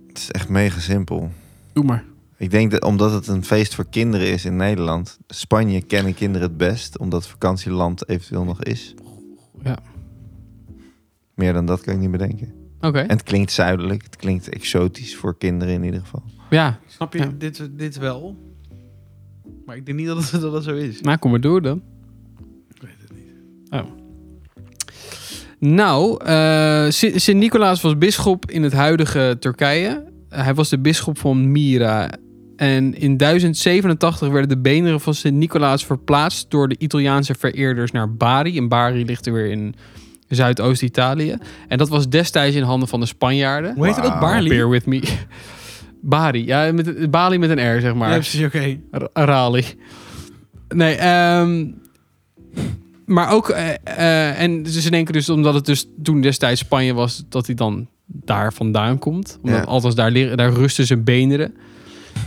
Speaker 2: het is echt mega simpel.
Speaker 3: Doe maar.
Speaker 2: Ik denk dat omdat het een feest voor kinderen is in Nederland. Spanje kennen kinderen het best, omdat het vakantieland eventueel nog is.
Speaker 3: Ja.
Speaker 2: Meer dan dat kan ik niet bedenken.
Speaker 3: Oké.
Speaker 2: En het klinkt zuidelijk, het klinkt exotisch voor kinderen in ieder geval.
Speaker 3: Ja,
Speaker 1: Snap je
Speaker 3: Ja.
Speaker 1: dit, dit wel? Maar ik denk niet dat het, dat het zo is.
Speaker 3: nou kom maar door dan. Ik weet het niet. Oh. Nou, eh, Sint- Sint-Nicolaas was bisschop in het huidige Turkije. Eh, hij was de bisschop van Myra. En in 1087 werden de benen van Sint-Nicolaas verplaatst door de Italiaanse vereerders naar Bari. En Bari ligt er weer in Zuidoost-Italië. En dat was destijds in handen van de Spanjaarden.
Speaker 1: Hoe heette dat?
Speaker 2: Wauw.
Speaker 1: Barley?
Speaker 3: Bear with me. Bari, ja, met, Bali met een R, zeg maar.
Speaker 1: Ja, precies, oké.
Speaker 3: R- Rally. Nee, ehm, maar ook, eh, eh, en ze denken dus omdat het dus toen destijds Spanje was, dat hij dan daar vandaan komt. Omdat
Speaker 2: Ja.
Speaker 3: althans daar, leren, daar rusten zijn beneren.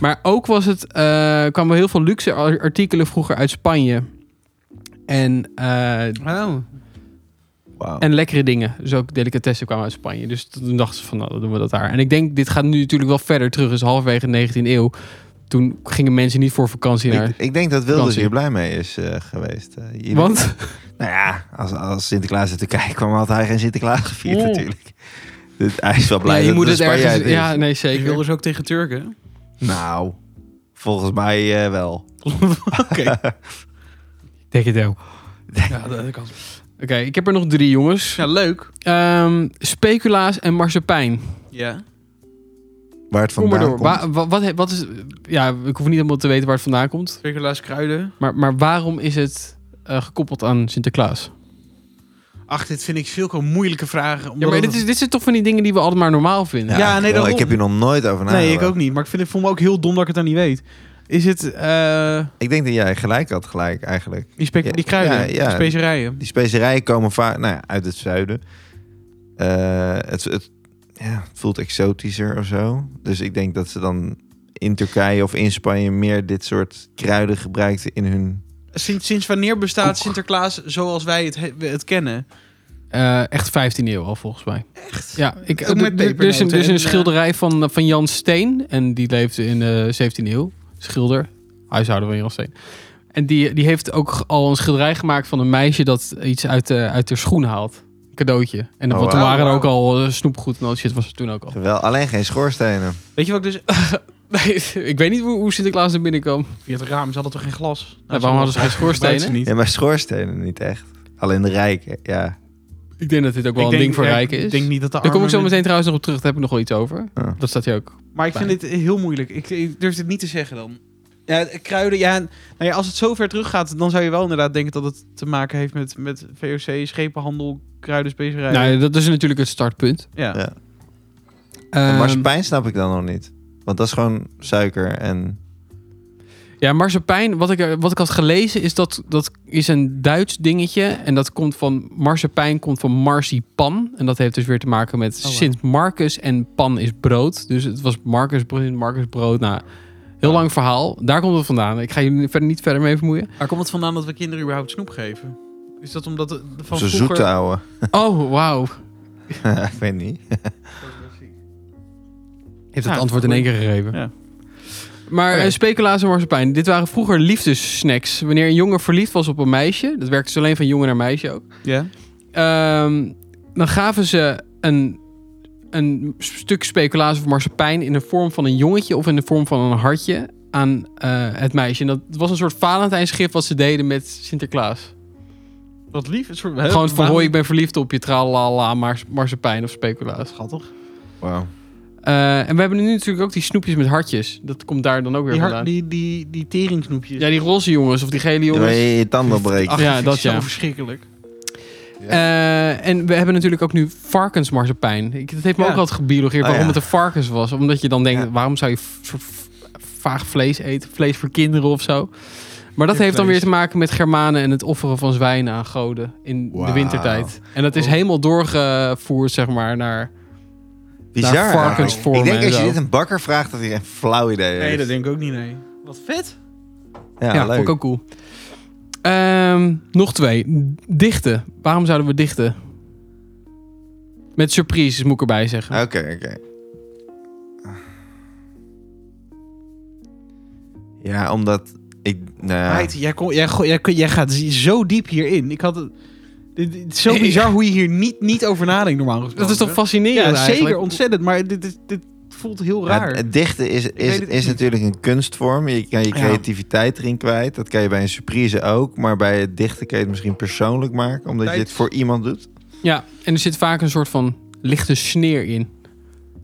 Speaker 3: Maar ook was het, eh kwamen heel veel luxe ar- artikelen vroeger uit Spanje. En, eh,
Speaker 1: Oh.
Speaker 2: Wauw.
Speaker 3: en lekkere dingen. Dus ook delicatessen kwamen uit Spanje. Dus toen dachten ze van, nou, dan doen we dat daar. En ik denk, dit gaat nu natuurlijk wel verder terug. Dus halverwege de 19e eeuw. Toen gingen mensen niet voor vakantie naar...
Speaker 2: Ik, ik denk dat Wilders
Speaker 3: Vakantie.
Speaker 2: hier blij mee is eh, geweest. Eh, hier-
Speaker 3: Want?
Speaker 2: Nou ja, als, als Sinterklaas uit Turkije kwam, had hij geen Sinterklaas gevierd
Speaker 3: Oeh.
Speaker 2: natuurlijk. Dit, hij is wel blij
Speaker 3: ja, je
Speaker 2: dat
Speaker 3: moet
Speaker 2: de
Speaker 3: het
Speaker 2: Spanjaard
Speaker 3: ergens...
Speaker 2: is.
Speaker 3: Ja, nee,
Speaker 1: Ik wil
Speaker 3: zeker.
Speaker 1: dus ook tegen Turken.
Speaker 2: Nou, volgens mij eh, wel.
Speaker 1: Oké.
Speaker 3: Ik denk het ook.
Speaker 1: Ja, dat kan.
Speaker 3: Oké, ik heb er nog drie, jongens.
Speaker 1: Ja, leuk.
Speaker 3: Ehm, speculaas en marsepein.
Speaker 1: Ja.
Speaker 2: Waar het
Speaker 3: Kom maar
Speaker 2: vandaan
Speaker 3: door.
Speaker 2: komt.
Speaker 3: Wa- wa- wat, he- wat is... Ja, ik hoef niet helemaal te weten waar het vandaan komt.
Speaker 1: Speculaas kruiden.
Speaker 3: Maar, maar waarom is het eh, gekoppeld aan Sinterklaas?
Speaker 1: Ach, dit vind ik zulke moeilijke vragen.
Speaker 3: Ja,
Speaker 1: omdat
Speaker 3: maar dit,
Speaker 1: het-
Speaker 3: is, dit zijn toch van die dingen die we altijd maar normaal
Speaker 1: Ja,
Speaker 3: vinden?
Speaker 1: nee,
Speaker 2: wel,
Speaker 1: daarom.
Speaker 2: Nou, ik heb hier nog nooit over nagedacht.
Speaker 1: Nee, ik ook niet. Maar ik vind het voel me ook heel dom dat ik het dan niet weet. Is het eh,
Speaker 2: Ik denk dat jij gelijk had, gelijk eigenlijk.
Speaker 1: die, spe-
Speaker 2: Ja,
Speaker 1: die kruiden,
Speaker 2: ja, ja.
Speaker 1: die specerijen?
Speaker 2: Die specerijen komen vaak nou ja, uit het zuiden. Eh, het, het, ja, het voelt exotischer of zo. Dus ik denk dat ze dan in Turkije of in Spanje meer dit soort kruiden gebruikten in hun...
Speaker 1: Sinds, sinds wanneer bestaat
Speaker 3: Ook.
Speaker 1: Sinterklaas zoals wij het, he- het kennen?
Speaker 3: Eh, echt 15e eeuw al, volgens mij. Echt? Ja, ik,
Speaker 1: Ook met
Speaker 3: d- d- er is een,
Speaker 1: pepernoten
Speaker 3: er is
Speaker 1: en,
Speaker 3: een
Speaker 1: eh,
Speaker 3: schilderij van, van Jan Steen. En die leefde in de 17e eeuw. Schilder, huishouden van Jan Steen. En die, die heeft ook al een schilderij gemaakt van een meisje... dat iets uit, eh, uit haar schoen haalt. Een cadeautje. En
Speaker 2: Oh,
Speaker 3: want toen
Speaker 1: wauw.
Speaker 3: waren er ook
Speaker 1: Wauw.
Speaker 3: al eh, snoepgoed en al die shit was er toen ook al.
Speaker 2: Wel, alleen geen schoorstenen.
Speaker 1: Weet je wat ik dus...
Speaker 3: Nee, ik weet niet hoe, hoe Sinterklaas er binnenkwam.
Speaker 1: Via het raam, ze hadden toch geen glas? Nou,
Speaker 3: waarom hadden ze geen schoorstenen?
Speaker 1: gebruikt ze
Speaker 2: Ja,
Speaker 1: niet.
Speaker 2: maar schoorstenen niet echt. Alleen de rijken, ja.
Speaker 3: Ik denk dat dit ook wel
Speaker 1: Ik
Speaker 3: een
Speaker 1: denk-
Speaker 3: ding voor
Speaker 1: ja,
Speaker 3: rijken
Speaker 1: Ik
Speaker 3: is.
Speaker 1: denk niet dat de
Speaker 3: Daar kom ik zo
Speaker 1: armen-
Speaker 3: meteen trouwens nog op terug. Daar heb ik nog wel iets over.
Speaker 2: Ja.
Speaker 3: Dat staat hier ook.
Speaker 1: Maar ik vind dit heel moeilijk. Ik, ik durf dit niet te zeggen dan. Ja, kruiden, ja, nou ja, als het zo ver teruggaat, dan zou je wel inderdaad denken dat het te maken heeft met, met VOC, schepenhandel, kruiden, specerijen.
Speaker 3: Nou, ja, dat is natuurlijk het startpunt.
Speaker 1: ja.
Speaker 2: Ja.
Speaker 3: Ehm,
Speaker 2: maar spijn snap ik dan nog niet. Want dat is gewoon suiker en...
Speaker 3: Ja, marsepein, wat ik, er- wat ik had gelezen is dat dat is een Duits dingetje. En dat komt van, marsepein komt van marzipan. En dat heeft dus weer te maken met
Speaker 1: wauw.
Speaker 3: Sint Marcus en pan is brood. Dus het was Marcus, Sint Marcus brood. Nou, heel lang verhaal. Daar komt het vandaan. Ik ga je verder niet verder mee vermoeien.
Speaker 1: Waar komt het vandaan dat we kinderen überhaupt snoep geven? Is dat omdat de, de- van
Speaker 2: Ze
Speaker 1: vroeger...
Speaker 2: zoete ouwe.
Speaker 3: Oh, wauw.
Speaker 2: ik weet niet.
Speaker 3: Heeft
Speaker 1: Ja,
Speaker 3: het antwoord in één keer gegeven.
Speaker 1: Ja.
Speaker 3: Maar
Speaker 1: Oké.
Speaker 3: eh, speculaas en marsepein, dit waren vroeger liefdessnacks. Wanneer een jongen verliefd was op een meisje, dat werkte dus alleen van jongen naar meisje ook.
Speaker 1: Ja.
Speaker 3: Ehm, dan gaven ze een, een stuk speculaas of marsepein in de vorm van een jongetje of in de vorm van een hartje aan eh, het meisje. En dat was een soort Valentijnsgift wat ze deden met Sinterklaas.
Speaker 1: Wat lief. Een soort,
Speaker 3: Gewoon van hoi, ik ben verliefd op je, tralala, mars, marsepein of speculaas.
Speaker 1: Schattig.
Speaker 2: Wauw.
Speaker 3: Eh, en we hebben nu natuurlijk ook die snoepjes met hartjes. Dat komt daar dan ook weer
Speaker 1: Die, har-
Speaker 3: vandaan.
Speaker 1: die, die, die teringsnoepjes.
Speaker 3: Ja, die roze jongens of die gele
Speaker 2: Dan wil
Speaker 3: jongens.
Speaker 2: je je tanden breken.
Speaker 1: Ach,
Speaker 3: Ja,
Speaker 1: dat
Speaker 3: dat
Speaker 1: is zo
Speaker 3: ja.
Speaker 1: verschrikkelijk.
Speaker 3: Eh, en we hebben natuurlijk ook nu varkensmarsepein. Ik, dat heeft me
Speaker 1: Ja.
Speaker 3: ook altijd gebiologeerd
Speaker 2: Ah,
Speaker 3: waarom
Speaker 2: ja.
Speaker 3: het een varkens was. Omdat je dan denkt,
Speaker 2: Ja.
Speaker 3: waarom zou je v- soort v- vaag vlees eten? Vlees voor kinderen of zo. Maar dat
Speaker 1: Ja,
Speaker 3: heeft dan
Speaker 1: vlees.
Speaker 3: weer te maken met Germanen en het offeren van zwijnen aan goden in de
Speaker 2: Wauw.
Speaker 3: wintertijd. En dat is
Speaker 1: Oh.
Speaker 3: helemaal doorgevoerd, zeg maar, naar...
Speaker 2: Bizar.
Speaker 3: Naar
Speaker 2: eigenlijk.
Speaker 3: varkensvormen
Speaker 2: Ik denk
Speaker 3: en
Speaker 2: als je
Speaker 3: zo.
Speaker 2: dit een bakker vraagt, dat hij geen flauw idee heeft.
Speaker 1: Nee, dat denk ik ook niet, nee. Wat vet.
Speaker 2: Ja, leuk.
Speaker 3: Ja, vond ik ook cool. Ehm, nog twee. Dichten. Waarom zouden we dichten? Met surprises moet ik erbij zeggen.
Speaker 2: Oké, oké. Ja, omdat ik... Nou,
Speaker 1: Meid, jij, kon, jij, go- jij, kun- jij gaat zo diep hierin. Ik had het... Dit, dit is zo
Speaker 3: Ja.
Speaker 1: bizar hoe je hier niet, niet over nadenkt normaal gesproken.
Speaker 3: Dat is toch fascinerend
Speaker 1: Ja,
Speaker 3: eigenlijk?
Speaker 1: zeker. Ontzettend. Maar dit, dit, dit voelt heel
Speaker 2: ja,
Speaker 1: raar.
Speaker 2: het dichten is, is,
Speaker 1: weet het
Speaker 2: is
Speaker 1: niet.
Speaker 2: natuurlijk een kunstvorm. Je kan je creativiteit erin kwijt. Dat kan je bij een surprise ook. Maar bij het dichten kan je het misschien persoonlijk maken. Omdat je
Speaker 1: Tijd.
Speaker 2: het voor iemand doet.
Speaker 3: Ja, en er zit vaak een soort van lichte sneer in.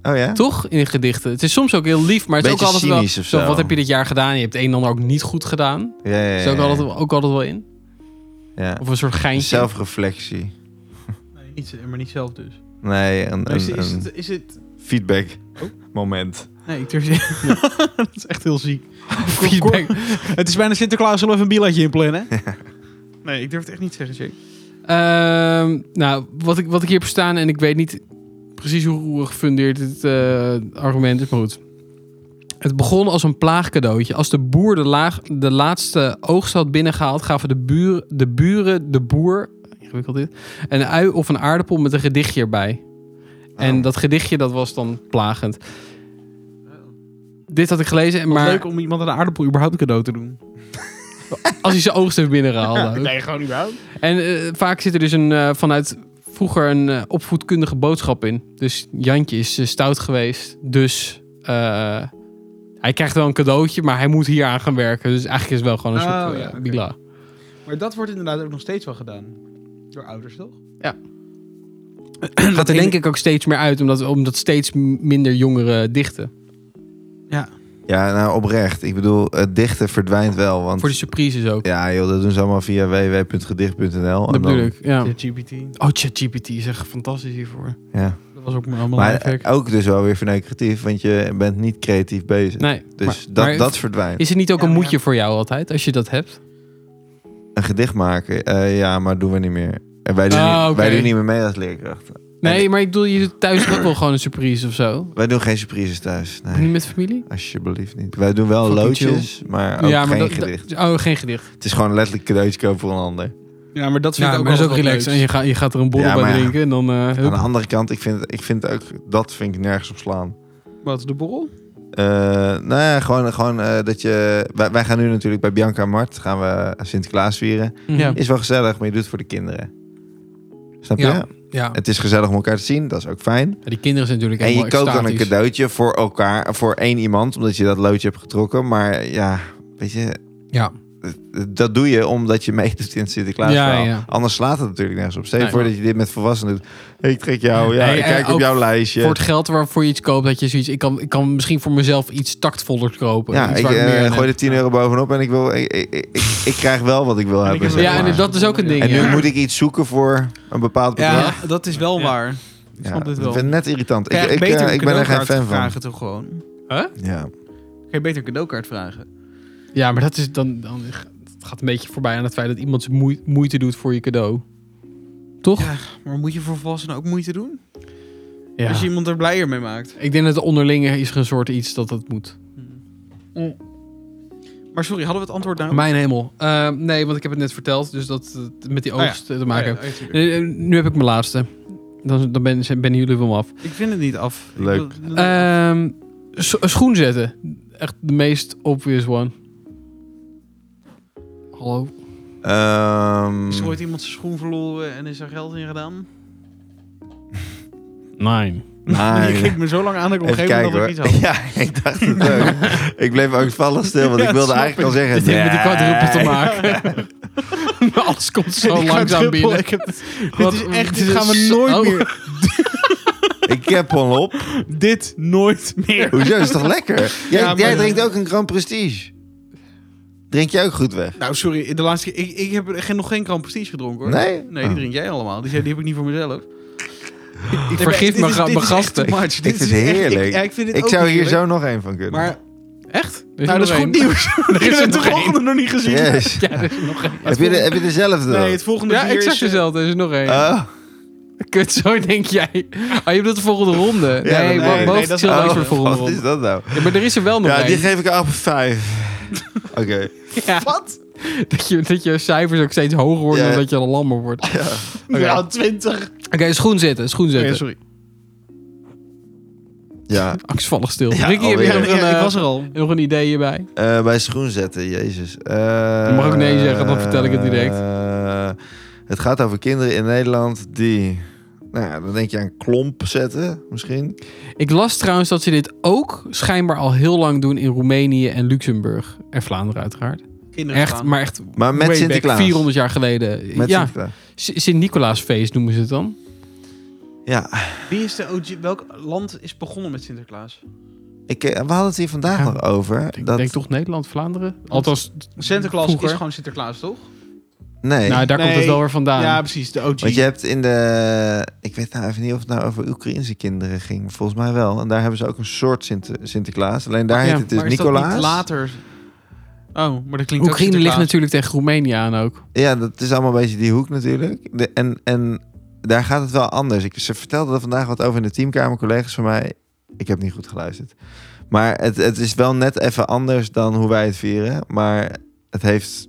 Speaker 2: Oh ja?
Speaker 3: Toch? In gedichten. Het is soms ook heel lief, maar het
Speaker 2: Beetje
Speaker 3: is ook altijd wel...
Speaker 2: cynisch of zo.
Speaker 3: Wat heb je dit jaar gedaan? Je hebt het een en ander ook niet goed gedaan.
Speaker 2: Ja, ja,
Speaker 3: Dat is
Speaker 2: ja,
Speaker 3: ook
Speaker 2: ja.
Speaker 3: altijd, wel- ook altijd wel in.
Speaker 2: Ja.
Speaker 3: Of een soort geintje.
Speaker 2: Zelfreflectie.
Speaker 1: Nee, niet, maar niet zelf dus.
Speaker 2: Nee, een,
Speaker 1: Is,
Speaker 2: een,
Speaker 1: is,
Speaker 2: een
Speaker 1: het, is het...
Speaker 2: feedback
Speaker 1: Oh.
Speaker 2: moment.
Speaker 1: Nee, ik durf Dat is echt heel ziek.
Speaker 3: Feedback.
Speaker 1: Het is bijna Sinterklaas, zullen we even een biertje inplannen? Nee, ik durf het echt niet te zeggen, Jake.
Speaker 3: Ehm, nou, wat ik, wat ik hier heb staan, en ik weet niet precies hoe, hoe gefundeerd dit eh, argument is, maar goed. Het begon als een plaagcadeautje. Als de boer de, laag, de laatste oogst had binnengehaald, gaven de, buur, de buren de boer ingewikkeld dit, een ui of een aardappel met een gedichtje erbij. En
Speaker 2: Oh.
Speaker 3: dat gedichtje dat was dan plagend. Dit had ik gelezen,
Speaker 1: Maar...
Speaker 3: maar
Speaker 1: Oh. Leuk om iemand een aardappel überhaupt een cadeau te doen.
Speaker 3: als hij zijn oogst heeft binnengehaald. ook.
Speaker 1: gewoon überhaupt.
Speaker 3: En eh, vaak zit er dus een, eh, vanuit vroeger een eh, opvoedkundige boodschap in. Dus Jantje is eh, stout geweest. Dus eh, hij krijgt wel een cadeautje, maar hij moet hier aan gaan werken. Dus eigenlijk is het wel gewoon een
Speaker 1: Oh,
Speaker 3: soort eh,
Speaker 1: ja, oké.
Speaker 3: bila.
Speaker 1: Maar dat wordt inderdaad ook nog steeds wel gedaan. Door ouders, toch?
Speaker 3: Ja.
Speaker 1: dat
Speaker 3: Gaat er
Speaker 1: ene-
Speaker 3: denk ik ook steeds meer uit, omdat, omdat steeds m- minder jongeren dichten.
Speaker 1: Ja.
Speaker 2: Ja, nou oprecht. Ik bedoel, het dichten verdwijnt wel. Want
Speaker 3: Voor de surprises ook.
Speaker 2: ja, joh, dat doen ze allemaal via www.gedicht.nl.
Speaker 3: dat
Speaker 2: en dan-
Speaker 3: bedoel ik. Ja.
Speaker 1: De GPT.
Speaker 3: Oh, ChatGPT is echt fantastisch hiervoor.
Speaker 2: Ja.
Speaker 1: Dat was ook allemaal
Speaker 2: Maar
Speaker 1: mijn werk.
Speaker 2: eh, ook dus wel weer vanuit creatief, want je bent niet creatief bezig.
Speaker 3: Nee,
Speaker 2: Dus
Speaker 3: maar-
Speaker 2: dat,
Speaker 3: maar
Speaker 2: dat verdwijnt.
Speaker 3: Is het niet ook
Speaker 1: Ja,
Speaker 3: een
Speaker 1: maar
Speaker 3: moedje voor jou altijd, als je dat hebt?
Speaker 2: Een gedicht maken, eh, ja, maar doen we niet meer. En wij doen,
Speaker 3: Ah,
Speaker 2: niet,
Speaker 3: oké.
Speaker 2: wij doen niet meer mee als leerkrachten.
Speaker 3: Nee, maar ik bedoel, je doet thuis ook wel gewoon een surprise of zo.
Speaker 2: Wij doen geen surprises thuis. Nee,
Speaker 3: Niet met familie?
Speaker 2: alsjeblieft niet. Wij doen wel
Speaker 3: Fucking
Speaker 2: loodjes, maar ook geen
Speaker 3: dat- dat-
Speaker 2: gedicht.
Speaker 3: Oh, geen gedicht.
Speaker 2: Het is gewoon letterlijk cadeautje kopen voor een ander.
Speaker 1: Ja, maar dat vind
Speaker 3: Ja,
Speaker 1: ik ook
Speaker 3: maar dat is
Speaker 1: wel
Speaker 3: ook
Speaker 1: wat
Speaker 3: relaxed.
Speaker 1: leuks.
Speaker 3: En je, gaat je gaat er een borrel
Speaker 2: Ja,
Speaker 3: bij
Speaker 2: maar ja.
Speaker 3: drinken en dan... eh, hup.
Speaker 2: Aan de andere kant, ik vind, het, ik vind het ook, dat vind ik nergens op slaan.
Speaker 1: Wat, de borrel?
Speaker 2: Eh, nou ja, gewoon, gewoon eh, dat je... Wij, wij gaan nu natuurlijk bij Bianca en Mart gaan we Sinterklaas vieren.
Speaker 3: Mhm.
Speaker 1: Ja.
Speaker 2: Is wel gezellig, maar je doet het voor de kinderen. Snap je?
Speaker 3: Ja. Ja.
Speaker 2: Het is gezellig om elkaar te zien, dat is ook fijn.
Speaker 3: Ja, Die kinderen zijn natuurlijk
Speaker 2: En je
Speaker 3: helemaal
Speaker 2: koopt dan een
Speaker 3: extatisch.
Speaker 2: cadeautje voor elkaar, voor één iemand, omdat je dat loodje hebt getrokken. Maar ja, weet je,
Speaker 3: Ja.
Speaker 2: dat doe je omdat je meedoet in het Sinterklaas.
Speaker 3: Ja,
Speaker 2: verhaal.
Speaker 3: ja.
Speaker 2: Anders slaat het natuurlijk nergens op. Stel je
Speaker 3: Nee,
Speaker 2: voor
Speaker 3: maar-
Speaker 2: dat je dit met volwassenen doet. Ik trek jou, ja,
Speaker 3: Nee,
Speaker 2: ik
Speaker 3: en
Speaker 2: kijk op
Speaker 3: ook
Speaker 2: jouw lijstje.
Speaker 3: Voor het geld waarvoor je iets koopt, dat je zoiets... Ik kan, ik kan misschien voor mezelf iets tactvoller kopen.
Speaker 2: Ja,
Speaker 3: Iets
Speaker 2: ik
Speaker 3: waar
Speaker 2: eh,
Speaker 3: meer aan
Speaker 2: gooi
Speaker 3: heb.
Speaker 2: er 10 euro bovenop en ik, wil, ik, ik, ik, ik krijg wel wat ik wil hebben.
Speaker 1: heb
Speaker 2: zeg
Speaker 3: Ja, en
Speaker 2: maar.
Speaker 3: dat is ook een ding,
Speaker 2: En nu
Speaker 3: ja.
Speaker 2: moet ik iets zoeken voor een bepaald bedrag. Ja,
Speaker 1: Ja, dat is wel
Speaker 3: Ja.
Speaker 1: waar. Ik snap dit
Speaker 2: ik
Speaker 1: wel.
Speaker 2: vind het net irritant. Ik,
Speaker 1: Krijg
Speaker 2: ik,
Speaker 1: beter
Speaker 2: eh,
Speaker 1: een
Speaker 2: ik ben er geen
Speaker 1: cadeaukaart
Speaker 2: fan van.
Speaker 1: vragen toch gewoon?
Speaker 2: Ja.
Speaker 1: Kun je beter een cadeaukaart vragen?
Speaker 3: Ja, maar dat is dan... dan dat gaat een beetje voorbij aan het feit dat iemand zijn moei- moeite doet voor je cadeau. Toch?
Speaker 1: Ja. Maar moet je voor volwassenen ook moeite doen?
Speaker 3: Ja.
Speaker 1: Als je iemand er blijer mee maakt.
Speaker 3: Ik denk dat onderling is er een soort iets dat dat moet.
Speaker 1: Hm. Maar sorry, hadden we het antwoord nou?
Speaker 3: Mijn hemel. Eh, nee, want ik heb het net verteld, dus dat het met die
Speaker 1: Oh ja.
Speaker 3: oogst eh, te maken heeft.
Speaker 1: Oh ja, ja, tuurlijk.
Speaker 3: Eh, eh, Nu heb ik mijn laatste. Dan, dan ben, zijn- ben jullie van me af.
Speaker 1: ik vind het niet af. Ik
Speaker 2: Leuk.
Speaker 1: wil- wil-
Speaker 3: Ehm, scho- schoen zetten. Echt de meest obvious one. Hallo?
Speaker 2: Ehm,
Speaker 3: Eh,
Speaker 1: Is er ooit iemand zijn schoen verloren en is er geld in gedaan?
Speaker 3: Nee.
Speaker 2: maar-
Speaker 1: je keek me zo lang aan dat ik op een
Speaker 2: Even
Speaker 1: gegeven moment
Speaker 2: kijken hoor.
Speaker 1: nog iets had.
Speaker 2: Ja, ik dacht het ook. ik bleef ook vallen stil, want
Speaker 1: Ja,
Speaker 2: ik wilde
Speaker 1: snap
Speaker 2: eigenlijk al zeggen...
Speaker 3: Dit heeft met die kwadruppel te
Speaker 2: nee.
Speaker 3: maken. Alles komt zo
Speaker 1: Die kwadruppel,
Speaker 3: langzaam binnen.
Speaker 1: ik heb- Dit
Speaker 3: Wat-
Speaker 1: is echt, dit
Speaker 3: is
Speaker 1: gaan we
Speaker 3: zo-
Speaker 1: nooit
Speaker 3: Oh.
Speaker 1: meer.
Speaker 2: Ik heb al op.
Speaker 1: Dit nooit meer.
Speaker 2: Hoezo, is toch lekker? Jij,
Speaker 1: Ja, maar-
Speaker 2: jij drinkt ook een Grand Prestige. Drink jij ook goed weg?
Speaker 1: Nou, sorry, de laatste keer. Ik, ik heb er geen- nog geen Grand Prestige gedronken hoor.
Speaker 2: Nee?
Speaker 1: Nee, die
Speaker 2: Oh.
Speaker 1: drink jij allemaal. Die, die heb ik niet voor mezelf. Ik
Speaker 3: vergeef mijn ga- mijn gasten.
Speaker 1: Ik
Speaker 2: Ik vind het heerlijk.
Speaker 1: Ik, ja, ik vind het
Speaker 2: Ik
Speaker 1: ook
Speaker 2: zou hier
Speaker 1: heerlijk.
Speaker 2: zo nog één van kunnen.
Speaker 1: Maar
Speaker 3: Echt? Er
Speaker 1: nou, dat is
Speaker 3: nog
Speaker 1: goed
Speaker 3: één.
Speaker 1: nieuws.
Speaker 3: Er
Speaker 1: Ik
Speaker 3: is
Speaker 1: heb
Speaker 3: er
Speaker 1: de
Speaker 3: nog één.
Speaker 1: volgende nog niet gezien.
Speaker 2: Yes.
Speaker 3: Ja, er is er nog één.
Speaker 2: Heb je, de- heb je dezelfde? dan?
Speaker 1: Nee, het volgende
Speaker 3: Ja,
Speaker 1: bier
Speaker 3: exact
Speaker 1: is, eh,
Speaker 3: dezelfde. Er is er nog één.
Speaker 2: Oh.
Speaker 3: Kut, zo denk jij. Ah, je bedoelt de volgende ronde.
Speaker 2: Ja,
Speaker 3: nee,
Speaker 2: nee,
Speaker 3: maar
Speaker 2: nee,
Speaker 3: boven
Speaker 1: nee, dat is
Speaker 3: chill
Speaker 1: wel-
Speaker 3: langs
Speaker 1: oh,
Speaker 3: voor de volgende
Speaker 2: Wat is
Speaker 3: ronde.
Speaker 2: dat nou?
Speaker 3: Ja, maar er is er wel nog
Speaker 2: Ja,
Speaker 3: één.
Speaker 2: die geef ik 8 op 5. Oké.
Speaker 3: Ja.
Speaker 1: Wat?
Speaker 3: Dat je, dat je cijfers ook steeds hoger worden
Speaker 2: Ja.
Speaker 3: omdat je al lammer wordt. Oké,
Speaker 1: Ja, 20.
Speaker 3: schoen zitten, schoen zitten.
Speaker 1: Nee, sorry.
Speaker 2: Ja,
Speaker 3: Angstvallig stil.
Speaker 2: Ja,
Speaker 3: Ricky, heb
Speaker 2: alweer.
Speaker 3: jij nog een,
Speaker 1: Ja, ik
Speaker 3: eh,
Speaker 1: was er al.
Speaker 3: nog een idee hierbij?
Speaker 2: eh, bij schoen zetten, jezus. Eh,
Speaker 3: Je mag ook nee zeggen, dan vertel ik het direct.
Speaker 2: eh, het gaat over kinderen in Nederland die... Nou ja, dan denk je aan klomp zetten, misschien.
Speaker 3: Ik las trouwens dat ze dit ook schijnbaar al heel lang doen in Roemenië en Luxemburg. En Vlaanderen uiteraard.
Speaker 1: Kinderen
Speaker 3: Echt,
Speaker 1: gaan.
Speaker 3: maar echt
Speaker 2: Maar met
Speaker 3: way back,
Speaker 2: Sinterklaas.
Speaker 3: 400 jaar geleden.
Speaker 2: Met
Speaker 3: ja,
Speaker 2: Sinterklaas.
Speaker 3: S- Sint-Nicolaasfeest noemen ze het dan.
Speaker 2: Ja,
Speaker 1: Wie is de OG? Welk land is begonnen met Sinterklaas?
Speaker 2: ik, eh, we hadden het hier vandaag
Speaker 3: Ja.
Speaker 2: nog over.
Speaker 3: Ik
Speaker 2: dat,
Speaker 3: denk toch Nederland, Vlaanderen? Althans,
Speaker 1: Sinterklaas
Speaker 3: Vroeger.
Speaker 1: is gewoon Sinterklaas, toch?
Speaker 2: Nee,
Speaker 3: nou, daar komt
Speaker 1: Nee.
Speaker 3: het wel weer vandaan.
Speaker 1: Ja, precies. De OG.
Speaker 2: want je hebt in de... Ik weet nou even niet of het nou over Oekraïnse kinderen ging. maar Volgens mij wel. En daar hebben ze ook een soort Sinter- Sinterklaas. Alleen daar
Speaker 3: Ah,
Speaker 2: heet
Speaker 3: ja,
Speaker 2: het dus
Speaker 1: Oh maar is dat niet
Speaker 2: Nicolaas.
Speaker 1: later. Oh, maar dat klinkt ook
Speaker 3: Oekraïne ligt
Speaker 1: Sinterklaas.
Speaker 3: natuurlijk tegen Roemenië aan ook.
Speaker 2: Ja, dat is allemaal een beetje die hoek natuurlijk. De, en, en daar gaat het wel anders. Ik, ze vertelde er vandaag wat over in de teamkamer, collega's van mij. Ik heb niet goed geluisterd. Maar het, het is wel net even anders dan hoe wij het vieren. Maar het heeft...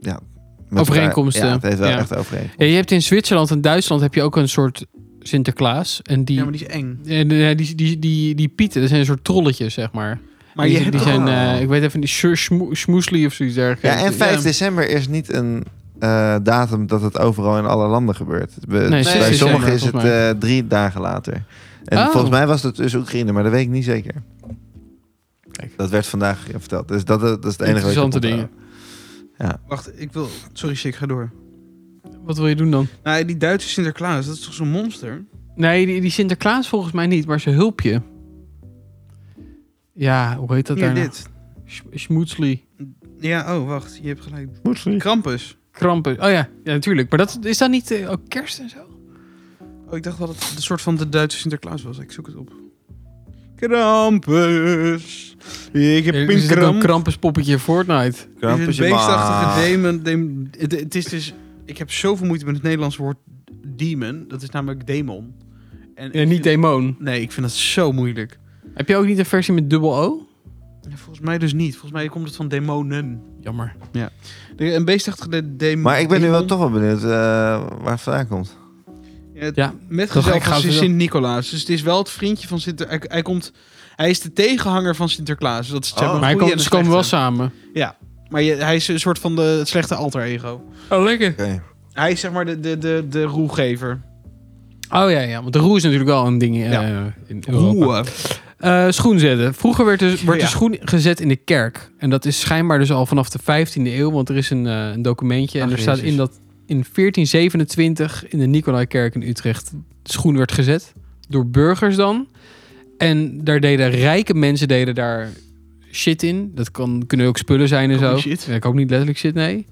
Speaker 2: Ja, met
Speaker 3: Overeenkomsten.
Speaker 2: elkaar- Ja, het heeft wel
Speaker 3: Ja.
Speaker 2: echt overeenkomsten.
Speaker 3: Ja, je hebt in Zwitserland en Duitsland heb je ook een soort Sinterklaas. En die,
Speaker 1: Ja, maar die is eng.
Speaker 3: en, eh, die, die, die, die pieten, dat zijn een soort trolletjes, zeg maar.
Speaker 1: Maar
Speaker 3: die,
Speaker 1: je hebt
Speaker 3: die
Speaker 1: toch-
Speaker 3: zijn,
Speaker 2: Oh.
Speaker 3: eh, ik weet even niet, Sjoe- Schmoe- Schmoesli of zoiets
Speaker 2: Ja,
Speaker 3: dergelijks.
Speaker 2: en 5
Speaker 1: Ja.
Speaker 2: december is niet een eh, datum dat het overal in alle landen gebeurt. Be-
Speaker 3: Nee,
Speaker 1: 6
Speaker 2: bij
Speaker 1: december,
Speaker 2: sommigen is het
Speaker 3: volgens mij.
Speaker 2: eh, drie dagen later. En
Speaker 3: Oh.
Speaker 2: volgens mij was dat dus Oekraïne, maar dat weet ik niet zeker.
Speaker 3: Kijk.
Speaker 2: Dat werd vandaag verteld. Dus dat, dat is het enige wat ik
Speaker 3: Interessante
Speaker 2: heb
Speaker 3: dingen.
Speaker 2: onthouden.
Speaker 1: Wacht, ik wil... Sorry, shit, ga door.
Speaker 3: Wat wil je doen dan?
Speaker 1: Nou, die Duitse Sinterklaas, dat is toch zo'n monster?
Speaker 3: Nee, die, die Sinterklaas volgens mij niet, maar zijn hulpje. Ja, hoe heet dat
Speaker 1: Hier,
Speaker 3: daar nou?
Speaker 1: dit.
Speaker 3: Sch- Schmoetsli.
Speaker 1: Ja, oh, wacht. Je hebt gelijk. Krampus.
Speaker 3: Krampen. Oh ja, ja natuurlijk. Maar dat, is dat niet eh, ook kerst en zo?
Speaker 1: Oh, ik dacht dat het een soort van de Duitse Sinterklaas was. Ik zoek het op. Krampus. Ik heb
Speaker 3: Er
Speaker 1: een
Speaker 3: zit ook een
Speaker 1: kramp.
Speaker 3: Krampus poppetje in Fortnite.
Speaker 1: Het is
Speaker 2: Krampus,
Speaker 1: een
Speaker 2: je maag.
Speaker 1: beestachtige demon. dem- het, het is dus... Ik heb zoveel moeite met het Nederlands woord demon. Dat is namelijk demon. En
Speaker 3: Ja, niet demon.
Speaker 1: Nee, ik vind dat zo moeilijk.
Speaker 3: Heb je ook niet een versie met dubbel O?
Speaker 1: Ja, Volgens mij dus niet. Volgens mij komt het van demonen.
Speaker 3: Jammer.
Speaker 1: De- Een beestachtige demon.
Speaker 2: Maar ik ben nu wel toch wel benieuwd eh, waar het vandaan komt.
Speaker 3: Ja,
Speaker 1: Ja, met gezelschap
Speaker 3: gek
Speaker 1: van
Speaker 3: gaat het wel.
Speaker 1: Sint-Nicolaas. Dus het is wel het vriendje van Sinter... Hij, hij komt... Hij is de tegenhanger van Sinterklaas. Dat is zeg
Speaker 2: Oh.
Speaker 1: maar, een
Speaker 3: Maar hij
Speaker 1: goeie en
Speaker 3: kan,
Speaker 1: een
Speaker 3: ze komen wel
Speaker 1: slechte.
Speaker 3: samen.
Speaker 1: Maar je- hij is een soort van de, het slechte alter ego.
Speaker 3: Oh, lekker.
Speaker 2: Oké.
Speaker 1: Hij is zeg maar de, de, de, de roegever.
Speaker 3: Oh ja, ja. Want de roe is natuurlijk wel een ding eh,
Speaker 1: Ja.
Speaker 3: in Europa. Eh, schoen zetten. Vroeger werd, dus, werd de
Speaker 1: Ja.
Speaker 3: schoen gezet in de kerk. En dat is schijnbaar dus al vanaf de 15e eeuw, want er is een, eh, een documentje. En
Speaker 1: Ach,
Speaker 3: er staat
Speaker 1: Jezus.
Speaker 3: in dat in 1427 in de Nicolaïkerk in Utrecht de schoen werd gezet. Door burgers dan. En daar deden rijke mensen deden daar shit in. Dat kan, kunnen ook spullen zijn en
Speaker 1: Ook
Speaker 3: zo.
Speaker 1: niet shit.
Speaker 3: Ja, Ik ook niet letterlijk shit, nee.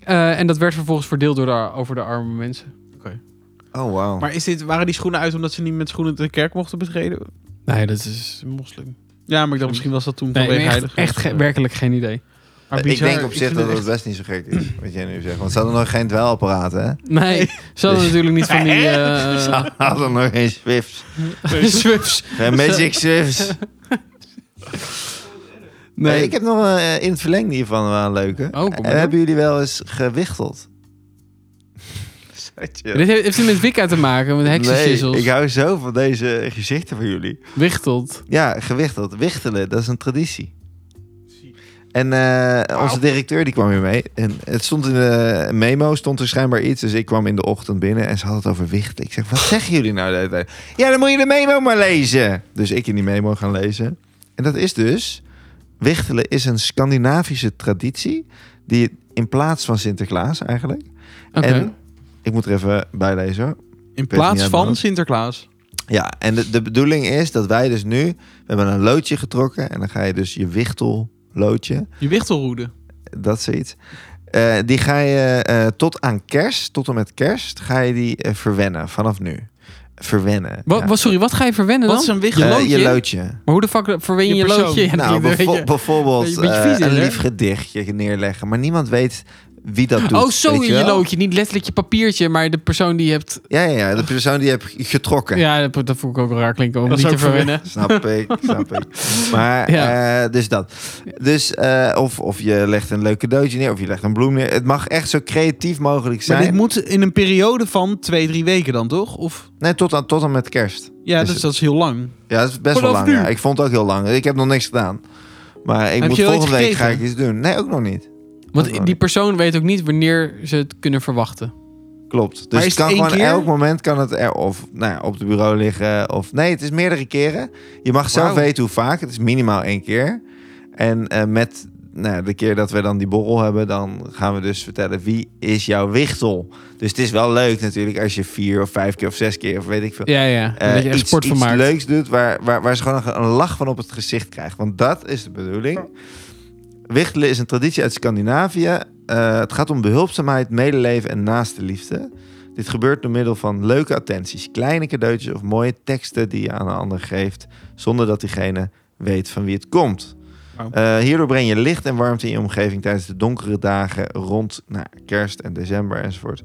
Speaker 3: Eh, en dat werd vervolgens verdeeld door de, over de arme mensen.
Speaker 2: Oh, wauw.
Speaker 1: Maar is dit, waren die schoenen uit omdat ze niet met schoenen de kerk mochten betreden?
Speaker 3: Nee, dat is een moslim.
Speaker 1: Ja, maar ik dacht misschien was dat toen
Speaker 3: Nee,
Speaker 1: vanwege
Speaker 3: echt,
Speaker 1: heilig.
Speaker 3: echt ge- werkelijk geen idee.
Speaker 1: Maar
Speaker 2: ik
Speaker 1: bizar,
Speaker 2: denk op zich
Speaker 1: vind
Speaker 2: dat
Speaker 1: het
Speaker 2: het best niet zo gek is, wat jij nu zegt. Want ze hadden nog geen dwelapparaten, hè?
Speaker 3: Nee, ze hadden natuurlijk niet van die... eh
Speaker 2: Ze hadden nog geen Swifts. dus.
Speaker 3: Swifts.
Speaker 2: Geen Magic Swifts. Nee.
Speaker 3: Nee, Oh,
Speaker 2: ik heb nog een, eh, in het verlengde hiervan wel een leuke. Eh,
Speaker 3: kom maar door.
Speaker 2: hebben jullie wel eens gewichteld?
Speaker 3: dit heeft, heeft niks met Wicca te maken, met heksensissels.
Speaker 2: Nee, ik hou zo van deze gezichten van jullie.
Speaker 3: Wichtelt.
Speaker 2: Ja, gewichteld. Wichtelen, dat is een traditie. En eh, onze directeur die kwam weer mee. En het stond in de memo, stond er schijnbaar iets. Dus ik kwam in de ochtend binnen en ze had het over wichten. Ik zeg, wat zeggen jullie nou? de hele tijd? Ja, dan moet je de memo maar lezen. Dus ik in die memo gaan lezen. En dat is dus, wichtelen is een Scandinavische traditie. Die in plaats van Sinterklaas eigenlijk.
Speaker 3: Oké.
Speaker 2: En ik moet er even bij lezen hoor.
Speaker 1: In
Speaker 2: weet niet
Speaker 1: plaats
Speaker 2: uit mijn
Speaker 1: van
Speaker 2: hoofd.
Speaker 1: Sinterklaas.
Speaker 2: Ja, en de, de bedoeling is dat wij dus nu... We hebben een loodje getrokken en dan ga je dus je wichtelloodje,
Speaker 1: Je wichtelroede.
Speaker 2: dat zoiets... eh, die ga je eh, tot aan kerst, tot en met kerst, ga je die eh, verwennen vanaf nu. Verwennen.
Speaker 3: Wa-
Speaker 2: ja.
Speaker 3: wa- sorry, wat ga je verwennen
Speaker 1: Wat
Speaker 3: dan?
Speaker 1: is een
Speaker 2: Eh,
Speaker 1: wichtelroede?
Speaker 2: je loodje.
Speaker 3: Maar hoe de fuck verwen je
Speaker 1: Je
Speaker 3: je
Speaker 1: persoon.
Speaker 3: loodje? Ja,
Speaker 2: nou,
Speaker 3: dat weet
Speaker 2: bijvo-
Speaker 3: je.
Speaker 2: bijvoorbeeld
Speaker 3: Een beetje
Speaker 2: eh,
Speaker 3: vies is,
Speaker 2: een
Speaker 3: hè?
Speaker 2: lief gedichtje neerleggen, maar niemand weet wie dat doet.
Speaker 3: Oh, zo
Speaker 2: weet
Speaker 3: in je
Speaker 2: wel?
Speaker 3: loodje. Niet letterlijk je papiertje, maar de persoon die je hebt...
Speaker 2: Ja, ja, ja, de persoon die je hebt getrokken.
Speaker 3: Ja, dat, dat vond ik ook wel raar klinken om
Speaker 1: Dat is
Speaker 3: niet te
Speaker 1: ook verwen-
Speaker 3: verwennen.
Speaker 2: Snap ik, snap ik. Maar,
Speaker 3: Ja.
Speaker 2: eh, dus dat. Dus, eh, of, of je legt een leuk cadeautje neer, of je legt een bloem neer. Het mag echt zo creatief mogelijk
Speaker 1: Maar dit
Speaker 2: zijn.
Speaker 1: moet in een periode van twee, drie weken dan, toch? Of...
Speaker 2: Nee, tot aan, tot aan met kerst.
Speaker 1: Ja,
Speaker 2: Is
Speaker 1: dus
Speaker 2: het-
Speaker 1: dat is heel lang.
Speaker 2: Ja, dat is best
Speaker 1: Vanaf
Speaker 2: wel lang.
Speaker 1: nu?
Speaker 2: ja. Ik vond het ook heel lang. Ik heb nog niks gedaan. Maar ik
Speaker 1: Heb
Speaker 2: moet
Speaker 1: je wel
Speaker 2: volgende
Speaker 1: iets
Speaker 2: week ga ik
Speaker 1: gegeven?
Speaker 2: iets doen. Nee, ook nog niet.
Speaker 3: Want die persoon weet ook niet wanneer ze het kunnen verwachten.
Speaker 2: Klopt. Dus
Speaker 1: Maar
Speaker 2: het
Speaker 1: is
Speaker 2: kan
Speaker 1: het één
Speaker 2: gewoon
Speaker 1: keer?
Speaker 2: elk moment kan het er of nou ja, op het bureau liggen. Of nee, het is meerdere keren. Je mag zelf
Speaker 1: Wauw.
Speaker 2: weten hoe vaak. Het is minimaal één keer. En eh, met nou, ja, de keer dat we dan die borrel hebben, dan gaan we dus vertellen wie is jouw wichtel. Dus het is wel leuk natuurlijk als je vier of vijf keer of zes keer of weet ik veel.
Speaker 3: Ja, ja.
Speaker 2: eh,
Speaker 3: dat je er
Speaker 2: iets,
Speaker 3: sport van
Speaker 2: iets
Speaker 3: maakt.
Speaker 2: leuks doet waar, waar, waar ze gewoon een, een lach van op het gezicht krijgt. Want dat is de bedoeling. Wichtelen is een traditie uit Scandinavië. Eh, het gaat om behulpzaamheid, medeleven en naaste liefde. Dit gebeurt door middel van leuke attenties, kleine cadeautjes of mooie teksten die je aan een ander geeft, zonder dat diegene weet van wie het komt.
Speaker 1: Wauw.
Speaker 2: Eh, hierdoor breng je licht en warmte in je omgeving tijdens de donkere dagen rond nou, kerst en december enzovoort.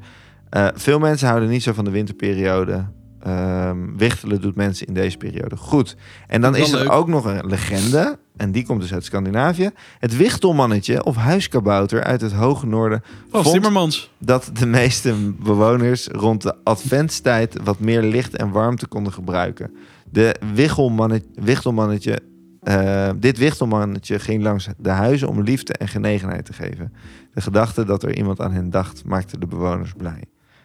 Speaker 2: Eh, veel mensen houden niet zo van de winterperiode. Ehm, wichtelen doet mensen in deze periode goed. En dan
Speaker 1: Wel
Speaker 2: is er
Speaker 1: leuk.
Speaker 2: ook nog een legende. En die komt dus uit Scandinavië. Het wichtelmannetje of huiskabouter uit het hoge noorden
Speaker 1: Oh,
Speaker 2: vond
Speaker 1: Timmermans.
Speaker 2: dat de meeste bewoners rond de adventstijd wat meer licht en warmte konden gebruiken. De wichelmanne- wichtelmannetje eh, dit wichtelmannetje ging langs de huizen om liefde en genegenheid te geven. De gedachte dat er iemand aan hen dacht, maakte de bewoners blij.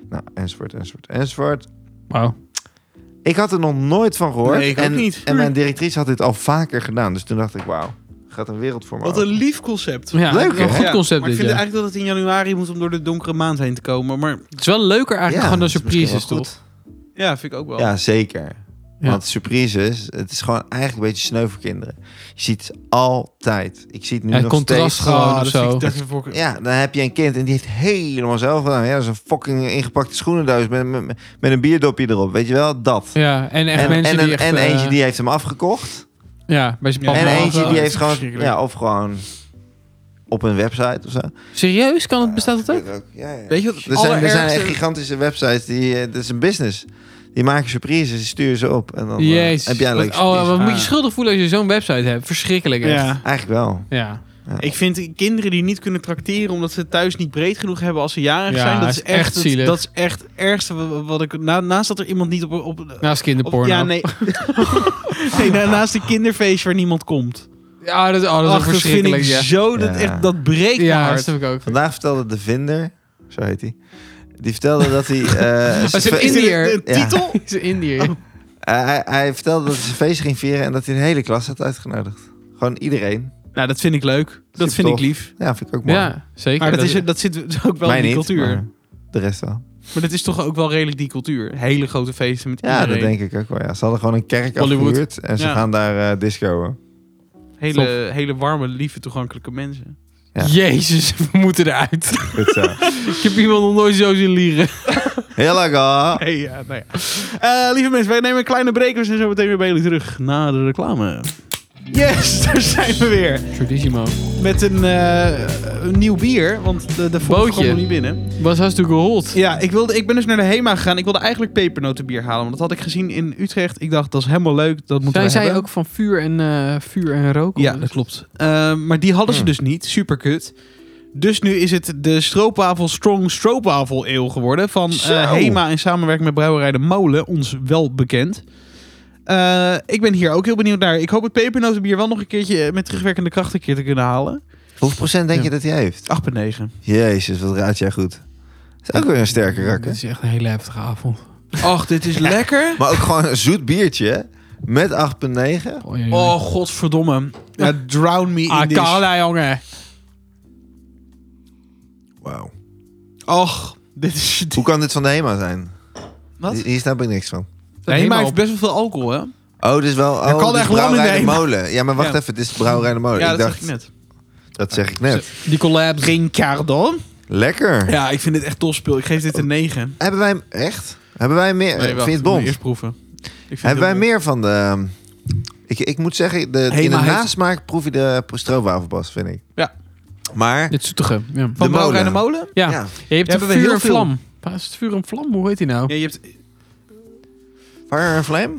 Speaker 2: Nou, enzovoort, enzovoort, enzovoort.
Speaker 3: Wauw.
Speaker 2: Ik had er nog nooit van gehoord.
Speaker 1: Nee, ik ook
Speaker 2: en,
Speaker 1: niet.
Speaker 2: En mijn directrice had dit al vaker gedaan. Dus toen dacht ik, wauw, gaat een wereld voor me
Speaker 1: Wat
Speaker 2: open.
Speaker 1: een lief concept.
Speaker 3: Ja,
Speaker 2: Leuk,
Speaker 3: een
Speaker 2: hè?
Speaker 3: goed
Speaker 1: Ja,
Speaker 3: concept
Speaker 1: maar ik
Speaker 3: dit,
Speaker 1: vind
Speaker 3: ja.
Speaker 1: eigenlijk dat het in januari moet om door de donkere maand heen te komen. Maar
Speaker 3: Het is wel leuker eigenlijk
Speaker 2: Ja,
Speaker 3: gewoon dan
Speaker 2: dat is misschien
Speaker 3: surprises,
Speaker 2: wel
Speaker 3: toch?
Speaker 2: goed.
Speaker 1: ja, vind ik ook wel.
Speaker 2: Ja, zeker.
Speaker 3: Ja.
Speaker 2: Want surprises, het is gewoon eigenlijk een beetje sneu voor kinderen. Je ziet het altijd. Ik zie het nu
Speaker 3: Ja, het
Speaker 2: nog
Speaker 3: contrast
Speaker 2: steeds.
Speaker 3: gewoon
Speaker 1: Ah,
Speaker 3: of
Speaker 1: dat vind
Speaker 3: zo.
Speaker 1: ik- dat vind ik voor-
Speaker 2: Ja, dan heb je een kind en die heeft helemaal zelf gedaan. Ja, dat is een fucking ingepakte schoenendoos met, met, met een bierdopje erop. Weet je wel, dat.
Speaker 3: Ja, en echt
Speaker 2: en
Speaker 3: mensen
Speaker 2: en,
Speaker 3: die
Speaker 2: een-
Speaker 3: echt...
Speaker 2: en
Speaker 3: eh,
Speaker 2: eentje die heeft hem afgekocht.
Speaker 3: Ja, bij zijn
Speaker 1: Ja.
Speaker 3: papa.
Speaker 2: en
Speaker 1: maar
Speaker 2: eentje
Speaker 1: wel,
Speaker 2: die
Speaker 1: dat
Speaker 2: heeft
Speaker 1: is
Speaker 2: gewoon...
Speaker 1: verschrikkelijk.
Speaker 2: Ja, of gewoon op een website of zo.
Speaker 3: Serieus? Kan het, bestaat dat ook?
Speaker 2: Ja, ja.
Speaker 1: Weet je wat het
Speaker 2: Er zijn, er zijn
Speaker 1: allerergste-
Speaker 2: echt gigantische websites. Die, eh, dat is een business. Die maken surprises, die sturen ze op. En dan eh,
Speaker 3: Jezus.
Speaker 2: heb jij een leuke
Speaker 3: Wat- oh,
Speaker 2: surprise.
Speaker 3: wat moet je
Speaker 1: Ah.
Speaker 3: schuldig voelen als je zo'n website hebt? Verschrikkelijk echt. Ja.
Speaker 1: Ja.
Speaker 2: Eigenlijk wel.
Speaker 3: Ja,
Speaker 1: Ik vind die kinderen die niet kunnen tracteren omdat ze thuis niet breed genoeg hebben als ze jarig
Speaker 3: Ja,
Speaker 1: zijn, dat is
Speaker 3: is echt
Speaker 1: echt, het-
Speaker 3: zielig.
Speaker 1: dat is echt het ergste wa- wa- wat ik na- naast dat er iemand niet op op, op-
Speaker 3: naast kinderporno.
Speaker 1: ja nee, nee na- naast een kinderfeest waar niemand komt.
Speaker 3: Ja, dat, is- oh, dat
Speaker 1: Ach,
Speaker 3: is wel
Speaker 1: dat vind ik
Speaker 3: verschrikkelijk. Ja,
Speaker 1: zo dat
Speaker 2: Ja.
Speaker 1: echt dat breekt mijn
Speaker 3: ja dat
Speaker 1: hart.
Speaker 3: heb ik ook.
Speaker 2: Vandaag vertelde de vinder, zo heet hij, die vertelde dat hij... eh,
Speaker 3: is
Speaker 2: zijn
Speaker 3: een
Speaker 2: fe-
Speaker 1: Is dit
Speaker 3: Indiër.
Speaker 1: een- een
Speaker 2: Ja.
Speaker 1: titel?
Speaker 3: Is in
Speaker 1: Oh,
Speaker 3: Indië.
Speaker 2: Eh, hij, hij vertelde dat hij zijn feest ging vieren en dat hij de hele klas had uitgenodigd. Gewoon iedereen.
Speaker 1: Nou, dat vind ik leuk. Dat vind ik
Speaker 2: tof.
Speaker 1: lief.
Speaker 2: Ja, vind ik ook mooi.
Speaker 3: ja, zeker.
Speaker 1: Maar dat, is, dat zit dus ook wel
Speaker 2: Mij
Speaker 1: in die
Speaker 2: niet,
Speaker 1: cultuur.
Speaker 2: maar de rest wel.
Speaker 1: Maar dat is toch ook wel redelijk die cultuur. Hele grote feesten met
Speaker 2: Ja,
Speaker 1: iedereen.
Speaker 2: dat denk ik ook wel. Ja. Ze hadden gewoon een kerk
Speaker 3: Hollywood.
Speaker 2: afgehuurd en ze
Speaker 1: Ja.
Speaker 2: gaan daar eh discoen.
Speaker 1: hele, hele warme, lieve, toegankelijke mensen.
Speaker 2: Ja.
Speaker 3: Jezus, we moeten eruit.
Speaker 2: Goed zo.
Speaker 3: ik heb iemand nog nooit zo zien liegen.
Speaker 2: Heel lekker.
Speaker 1: Hey, ja, nou ja. Eh, lieve mensen, wij nemen een kleine break. We zijn zo meteen weer bij jullie terug na de reclame. Yes, daar zijn we weer.
Speaker 3: Tradissimo.
Speaker 1: Met een, eh, een nieuw bier, want de, de vorige
Speaker 3: Bootje.
Speaker 1: kwam nog niet binnen.
Speaker 3: Was hartstikke hot.
Speaker 1: Ja, ik, wilde, ik ben dus naar de HEMA gegaan. Ik wilde eigenlijk pepernotenbier halen, want dat had ik gezien in Utrecht. Ik dacht, dat is helemaal leuk, dat moeten
Speaker 3: Zij
Speaker 1: we
Speaker 3: zei
Speaker 1: hebben.
Speaker 3: ook van vuur en, eh, vuur en rook.
Speaker 1: Ja,
Speaker 3: of-
Speaker 1: dat klopt. Eh, maar die hadden ze
Speaker 2: Hmm.
Speaker 1: dus niet. Super kut. Dus nu is het de stroopwafel Strong Stroopwafel Eeuw geworden. Van eh,
Speaker 2: Zo.
Speaker 1: Hema in samenwerking met Brouwerij de Molen. Ons wel bekend. Eh, ik ben hier ook heel benieuwd naar. Ik hoop het pepernotenbier wel nog een keertje eh, met terugwerkende kracht een keer te kunnen halen.
Speaker 2: Hoeveel procent denk
Speaker 1: Ja.
Speaker 2: je dat hij heeft?
Speaker 1: 8,9.
Speaker 2: Jezus, wat raad jij goed. Dat is ook weer een sterke rak, hè?
Speaker 3: Dit is echt een hele heftige avond.
Speaker 1: Ach, dit is lekker.
Speaker 2: Maar ook gewoon een zoet biertje, hè? Met 8,9.
Speaker 3: Oei, oei, oei.
Speaker 1: Oh, godverdomme. Ja, drown me in
Speaker 3: ah,
Speaker 1: this.
Speaker 3: Carla, jongen.
Speaker 2: Wauw.
Speaker 1: Och, dit is...
Speaker 2: Hoe kan dit van de HEMA zijn?
Speaker 1: Wat?
Speaker 2: Hier- Hier snap ik niks van.
Speaker 1: De Hema heeft best wel veel alcohol, hè?
Speaker 2: Oh, dit is wel... Oh,
Speaker 1: kan
Speaker 2: dit is
Speaker 1: echt lang
Speaker 2: Brouwerij de
Speaker 1: in de HEMA.
Speaker 2: Molen. Ja, maar wacht
Speaker 1: Ja.
Speaker 2: even. Dit is Brouwerij de Molen.
Speaker 1: Ja, dat
Speaker 2: ik dacht,
Speaker 1: zag ik net.
Speaker 2: dat zeg ik net.
Speaker 3: Die collabs.
Speaker 1: Rincardon.
Speaker 2: Lekker.
Speaker 1: Ja, ik vind dit echt topspul. Ik geef dit een 9.
Speaker 2: Hebben wij... hem- Echt? Hebben wij meer... eh, vind je het bond?
Speaker 1: Eerst proeven. Ik vind
Speaker 2: Hebben wij meer van de... ehm, Ik, ik moet zeggen, de,
Speaker 1: Hema
Speaker 2: in de
Speaker 1: heeft-
Speaker 2: nasmaak proef je de stroopwafel pas, vind ik.
Speaker 1: Ja.
Speaker 2: Maar...
Speaker 3: Dit zoetige. Ja.
Speaker 1: Van
Speaker 2: de
Speaker 1: Brouwerij de
Speaker 2: molen?
Speaker 1: Molen?
Speaker 2: Ja,
Speaker 3: Ja. je hebt
Speaker 1: Ja,
Speaker 3: een
Speaker 1: hebben we heel
Speaker 3: vuur en
Speaker 1: veel.
Speaker 3: vlam. Waar is het vuur en vlam? Hoe heet die nou?
Speaker 1: Ja, je hebt,
Speaker 2: Fire and Flame?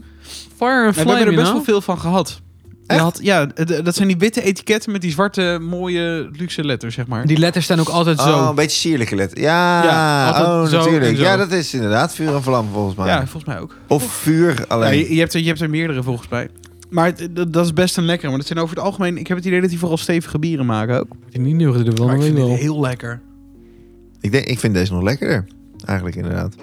Speaker 3: Fire
Speaker 1: we
Speaker 3: en vlam,
Speaker 1: hebben er
Speaker 3: you
Speaker 1: best
Speaker 3: know?
Speaker 1: wel veel van gehad. Je
Speaker 2: Echt?
Speaker 1: had, ja, d- dat zijn die witte etiketten met die zwarte mooie luxe letters, zeg maar.
Speaker 3: Die letters staan ook altijd
Speaker 2: Oh,
Speaker 1: Ah,
Speaker 3: zo.
Speaker 2: een beetje sierlijke letter. Ja,
Speaker 1: Ja, altijd
Speaker 2: oh,
Speaker 3: zo
Speaker 2: natuurlijk.
Speaker 3: en zo.
Speaker 2: Ja, dat is inderdaad vuur en vlam volgens mij.
Speaker 1: ja, volgens mij ook.
Speaker 2: Of vuur
Speaker 1: Ja,
Speaker 2: alleen.
Speaker 1: je, je hebt er, je hebt er meerdere volgens mij. Maar het- dat- dat is best een lekkere. Maar dat zijn over het algemeen... Ik heb het idee dat die vooral stevige bieren maken ook.
Speaker 3: Die niet nodig, dat wil
Speaker 1: Maar ik
Speaker 3: nog
Speaker 1: vind dit
Speaker 3: wel.
Speaker 1: heel lekker.
Speaker 2: Ik, denk, ik vind deze nog lekkerder. Eigenlijk inderdaad.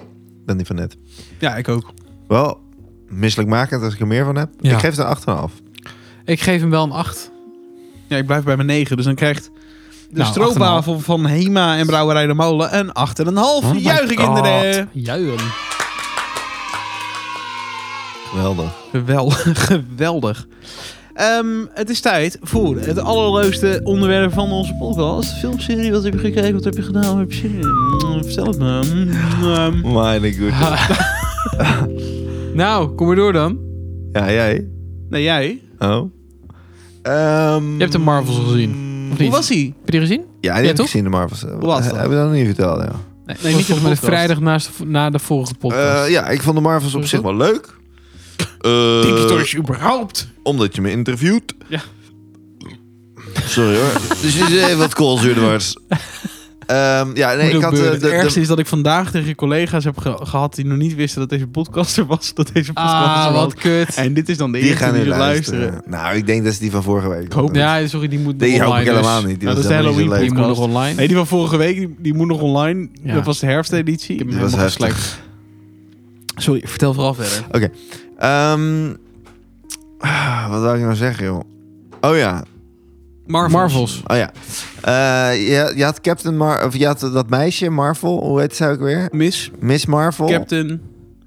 Speaker 2: Dan die van net.
Speaker 1: Ja, ik ook.
Speaker 2: Wel misselijkmakend als ik er meer van heb.
Speaker 3: Ja.
Speaker 2: Ik geef het een 8,5.
Speaker 3: Ik geef hem wel een 8.
Speaker 1: Ja, ik blijf bij mijn 9. Dus dan krijgt de
Speaker 3: Nou,
Speaker 1: stroopwafel van Hema en Brouwerij de Molen een 8,5.
Speaker 3: Oh my
Speaker 1: Juichen,
Speaker 3: God.
Speaker 1: kinderen!
Speaker 3: Juichen.
Speaker 2: Geweldig.
Speaker 1: Geweldig. geweldig. Ehm, het is tijd voor het allerleukste onderwerp van onze podcast. Filmserie, wat heb je gekeken, wat heb je gedaan, wat heb je zin in? Mm, Vertel het me. Mm, ehm,
Speaker 2: My good.
Speaker 3: Nou, kom maar door dan.
Speaker 2: Ja, jij?
Speaker 1: nee, jij?
Speaker 2: Oh. Ehm,
Speaker 3: Je hebt de Marvels gezien,
Speaker 1: Hoe
Speaker 3: of niet?
Speaker 1: was hij?
Speaker 3: Heb je die gezien?
Speaker 2: Ja, die heb ik
Speaker 3: toch?
Speaker 2: gezien, de Marvels.
Speaker 1: was dat?
Speaker 2: Hebben we dat nog niet verteld, ja.
Speaker 1: niet
Speaker 3: Nee,
Speaker 1: in
Speaker 3: niet
Speaker 1: de
Speaker 3: volgens mij
Speaker 1: podcast.
Speaker 3: vrijdag naast, de- na de vorige podcast.
Speaker 2: Eh, ja, ik vond de Marvels op
Speaker 3: Is
Speaker 2: zich
Speaker 3: dat?
Speaker 2: wel leuk. Eh,
Speaker 1: überhaupt?
Speaker 2: Omdat je me interviewt.
Speaker 1: Ja.
Speaker 2: Sorry hoor. dus dit is even wat koolzuur dwars. Ehm, ja, nee,
Speaker 3: Moet
Speaker 2: ik
Speaker 3: ook
Speaker 2: had eh, de,
Speaker 1: het
Speaker 2: de,
Speaker 1: ergste is dat ik vandaag tegen collega's heb ge- gehad die nog niet wisten dat deze podcast er was. Dat deze podcast
Speaker 3: Ah,
Speaker 1: er was.
Speaker 3: wat kut.
Speaker 1: En dit is dan de
Speaker 2: die
Speaker 1: eerste
Speaker 2: gaan
Speaker 1: die
Speaker 2: nu
Speaker 1: ze luisteren.
Speaker 2: luisteren. Nou, ik denk dat is die van vorige week.
Speaker 1: Ik hoop
Speaker 2: ja.
Speaker 3: Ja, sorry, die moet nog
Speaker 2: Die hoop ik
Speaker 3: online.
Speaker 2: helemaal
Speaker 3: dus.
Speaker 2: niet. Die
Speaker 1: Nou,
Speaker 2: was
Speaker 1: dat is
Speaker 2: helemaal
Speaker 1: Halloween
Speaker 2: niet zo leuk.
Speaker 3: Die moet nog online.
Speaker 1: Nee, die van vorige week, die, die moet nog online.
Speaker 3: Ja.
Speaker 1: Dat was de herfsteditie.
Speaker 3: ik heb hem
Speaker 2: die was
Speaker 3: helemaal
Speaker 2: heftig.
Speaker 3: geslekt.
Speaker 1: Sorry, vertel vooral verder.
Speaker 2: Ehm, ah, wat wil ik nou zeggen, joh? Oh ja,
Speaker 1: Marvels.
Speaker 3: Marvels.
Speaker 2: oh ja. Eh, je, je had Captain Mar of je had dat meisje Marvel, hoe heet ze ook weer?
Speaker 1: Miss,
Speaker 2: Miss Marvel.
Speaker 1: Oh. Captain.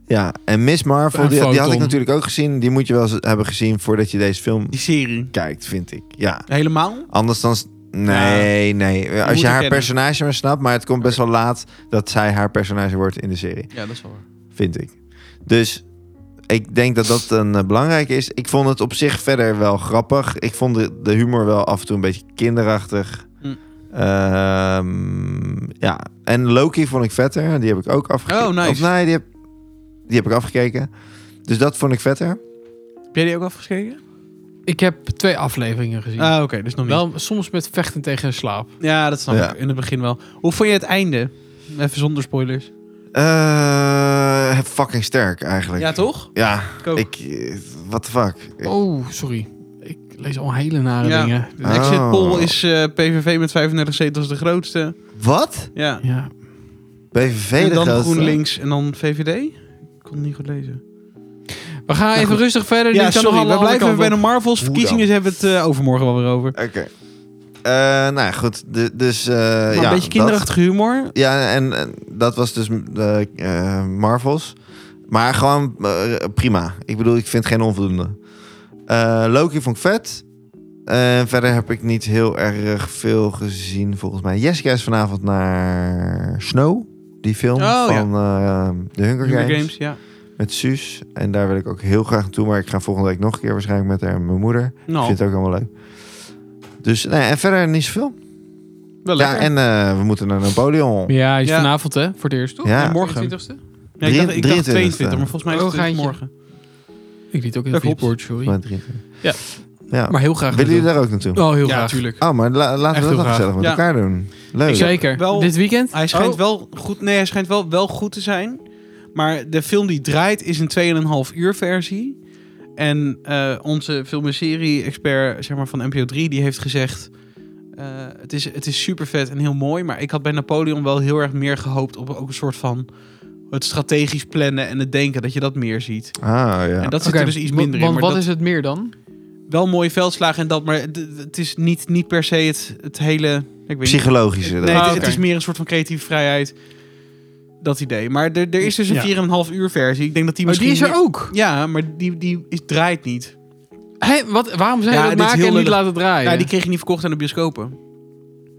Speaker 2: ja, en Miss Marvel,
Speaker 3: En
Speaker 2: die, die had ik
Speaker 3: Photon.
Speaker 2: natuurlijk ook gezien. Die moet je wel eens hebben gezien voordat je deze film
Speaker 1: Die serie.
Speaker 2: kijkt, vind ik. Ja,
Speaker 1: Helemaal?
Speaker 2: anders dan. s- Nee,
Speaker 1: moet
Speaker 2: nee. Als je haar
Speaker 1: herkennen.
Speaker 2: personage maar snapt, maar het komt best wel laat dat zij haar personage wordt in de serie.
Speaker 1: Ja, dat is wel waar.
Speaker 2: vind ik. Dus ik denk dat dat een eh, belangrijke is. Ik vond het op zich verder wel grappig. Ik vond de, de humor wel af en toe een beetje kinderachtig.
Speaker 1: Mm.
Speaker 2: Ehm, ja, en Loki vond ik vetter. Die heb ik ook afgekeken.
Speaker 1: Oh, nice.
Speaker 2: Of nee, die heb, die heb ik afgekeken. Dus dat vond ik vetter.
Speaker 1: Heb jij die ook afgeschreven?
Speaker 3: Ik heb twee afleveringen gezien.
Speaker 1: Ah, oké, dus nog niet.
Speaker 3: Wel, soms met vechten tegen slaap.
Speaker 1: ja, dat snap
Speaker 2: Ja.
Speaker 1: ik. In het begin wel. Hoe vond je het einde? Even zonder spoilers.
Speaker 2: Eh, fucking sterk eigenlijk.
Speaker 1: Ja, toch?
Speaker 2: Ja,
Speaker 1: Ik ook.
Speaker 2: ik... eh, What the fuck? Ik-
Speaker 3: Oh, sorry. Ik lees al hele nare
Speaker 1: Ja.
Speaker 3: dingen.
Speaker 1: De exit
Speaker 2: Oh.
Speaker 1: poll is eh, PVV met 35 zetels de grootste.
Speaker 2: Wat?
Speaker 1: Ja.
Speaker 3: Ja.
Speaker 2: BVV
Speaker 1: En
Speaker 2: de
Speaker 1: dan
Speaker 2: grootste?
Speaker 1: GroenLinks en dan VVD. Ik kon het niet goed lezen.
Speaker 3: We gaan even
Speaker 1: goed.
Speaker 3: rustig verder.
Speaker 1: Ja,
Speaker 3: Dit kan nog
Speaker 1: sorry.
Speaker 3: alle
Speaker 1: We
Speaker 3: andere
Speaker 1: blijven
Speaker 3: kant
Speaker 1: bij
Speaker 3: op.
Speaker 1: de Marvels.
Speaker 2: Hoe dan?
Speaker 1: Verkiezingen hebben we het eh, overmorgen wel weer over.
Speaker 2: Oké. Eh, nou ja, goed. De- dus eh,
Speaker 1: Maar een
Speaker 2: ja,
Speaker 1: beetje
Speaker 2: dat.
Speaker 1: kinderachtig humor.
Speaker 2: Ja, en, en dat was dus de Marvels. Maar gewoon eh, prima. Ik bedoel, ik vind geen onvoldoende. Eh, Loki vond ik vet. Eh, verder heb ik niet heel erg veel gezien, volgens mij. Jessica is vanavond naar Snow. Die film
Speaker 1: Oh,
Speaker 2: van eh, de Hunger,
Speaker 1: Hunger
Speaker 2: Games,
Speaker 1: Games, ja.
Speaker 2: Met Suus. En daar wil ik ook heel graag naartoe. Maar ik ga volgende week nog een keer waarschijnlijk met haar en mijn moeder. Ik
Speaker 1: Nou,
Speaker 2: vind het ook allemaal leuk. Dus nee, en verder niet zoveel.
Speaker 1: wel
Speaker 2: Ja,
Speaker 1: lekker.
Speaker 2: en eh, we moeten naar Napoleon.
Speaker 3: Ja, hij is
Speaker 1: Ja.
Speaker 3: vanavond hè, voor het eerst toch?
Speaker 2: Ja.
Speaker 1: En morgen.
Speaker 3: 20ste?
Speaker 1: Nee, ik dacht, ik dacht
Speaker 2: 23e.
Speaker 1: 22, maar volgens mij is het
Speaker 3: Oh, geintje.
Speaker 1: morgen.
Speaker 3: Ik liet ook in
Speaker 1: Dat
Speaker 3: het
Speaker 1: klopt.
Speaker 3: report, sorry.
Speaker 2: Maar drie-
Speaker 3: Ja.
Speaker 2: ja.
Speaker 3: Maar heel graag.
Speaker 2: Willen
Speaker 3: naartoe.
Speaker 2: jullie daar ook naartoe?
Speaker 3: Oh, heel
Speaker 1: ja,
Speaker 3: graag.
Speaker 1: natuurlijk.
Speaker 2: Oh, maar la- laten
Speaker 3: Echt
Speaker 2: we
Speaker 3: heel
Speaker 2: dat nog
Speaker 3: graag.
Speaker 2: gezellig met
Speaker 1: Ja.
Speaker 2: elkaar doen. Leuk.
Speaker 3: Zeker.
Speaker 1: Wel-
Speaker 3: Dit weekend?
Speaker 1: Ah, Hij schijnt
Speaker 3: Oh.
Speaker 1: wel goed. Nee, hij schijnt wel, wel goed te zijn. Maar de film die draait is een 2,5 uur versie. En eh, onze film- en serie-expert zeg maar, van NPO 3 die heeft gezegd... eh, het, is, het is super vet en heel mooi. Maar ik had bij Napoleon wel heel erg meer gehoopt op ook een soort van... Het strategisch plannen en het denken, dat je dat meer ziet.
Speaker 2: Ah, ja.
Speaker 1: En dat zit
Speaker 3: Oké,
Speaker 1: er dus iets
Speaker 3: wa-
Speaker 1: minder
Speaker 3: Want
Speaker 1: in. Maar
Speaker 3: wat
Speaker 1: dat,
Speaker 3: is het meer dan?
Speaker 1: Wel mooie veldslagen en dat, maar het- het is niet, niet per se het, het hele... Ik weet niet,
Speaker 2: Psychologische.
Speaker 1: Nee,
Speaker 3: Ah,
Speaker 1: het,
Speaker 3: oké.
Speaker 1: het is meer een soort van creatieve vrijheid. Dat idee. Maar er, er is dus
Speaker 3: Ja.
Speaker 1: een 4,5 uur versie. Ik denk dat die
Speaker 3: Oh,
Speaker 1: misschien...
Speaker 3: die is er
Speaker 1: meer-
Speaker 3: ook.
Speaker 1: Ja, maar die, die is, draait niet.
Speaker 3: Hé, wat, waarom zijn
Speaker 1: Ja,
Speaker 3: we
Speaker 1: dit
Speaker 3: dat
Speaker 1: is
Speaker 3: maken
Speaker 1: heel
Speaker 3: en niet
Speaker 1: lullig.
Speaker 3: laten draaien?
Speaker 1: Ja, Nou, die kreeg je niet verkocht aan de bioscopen.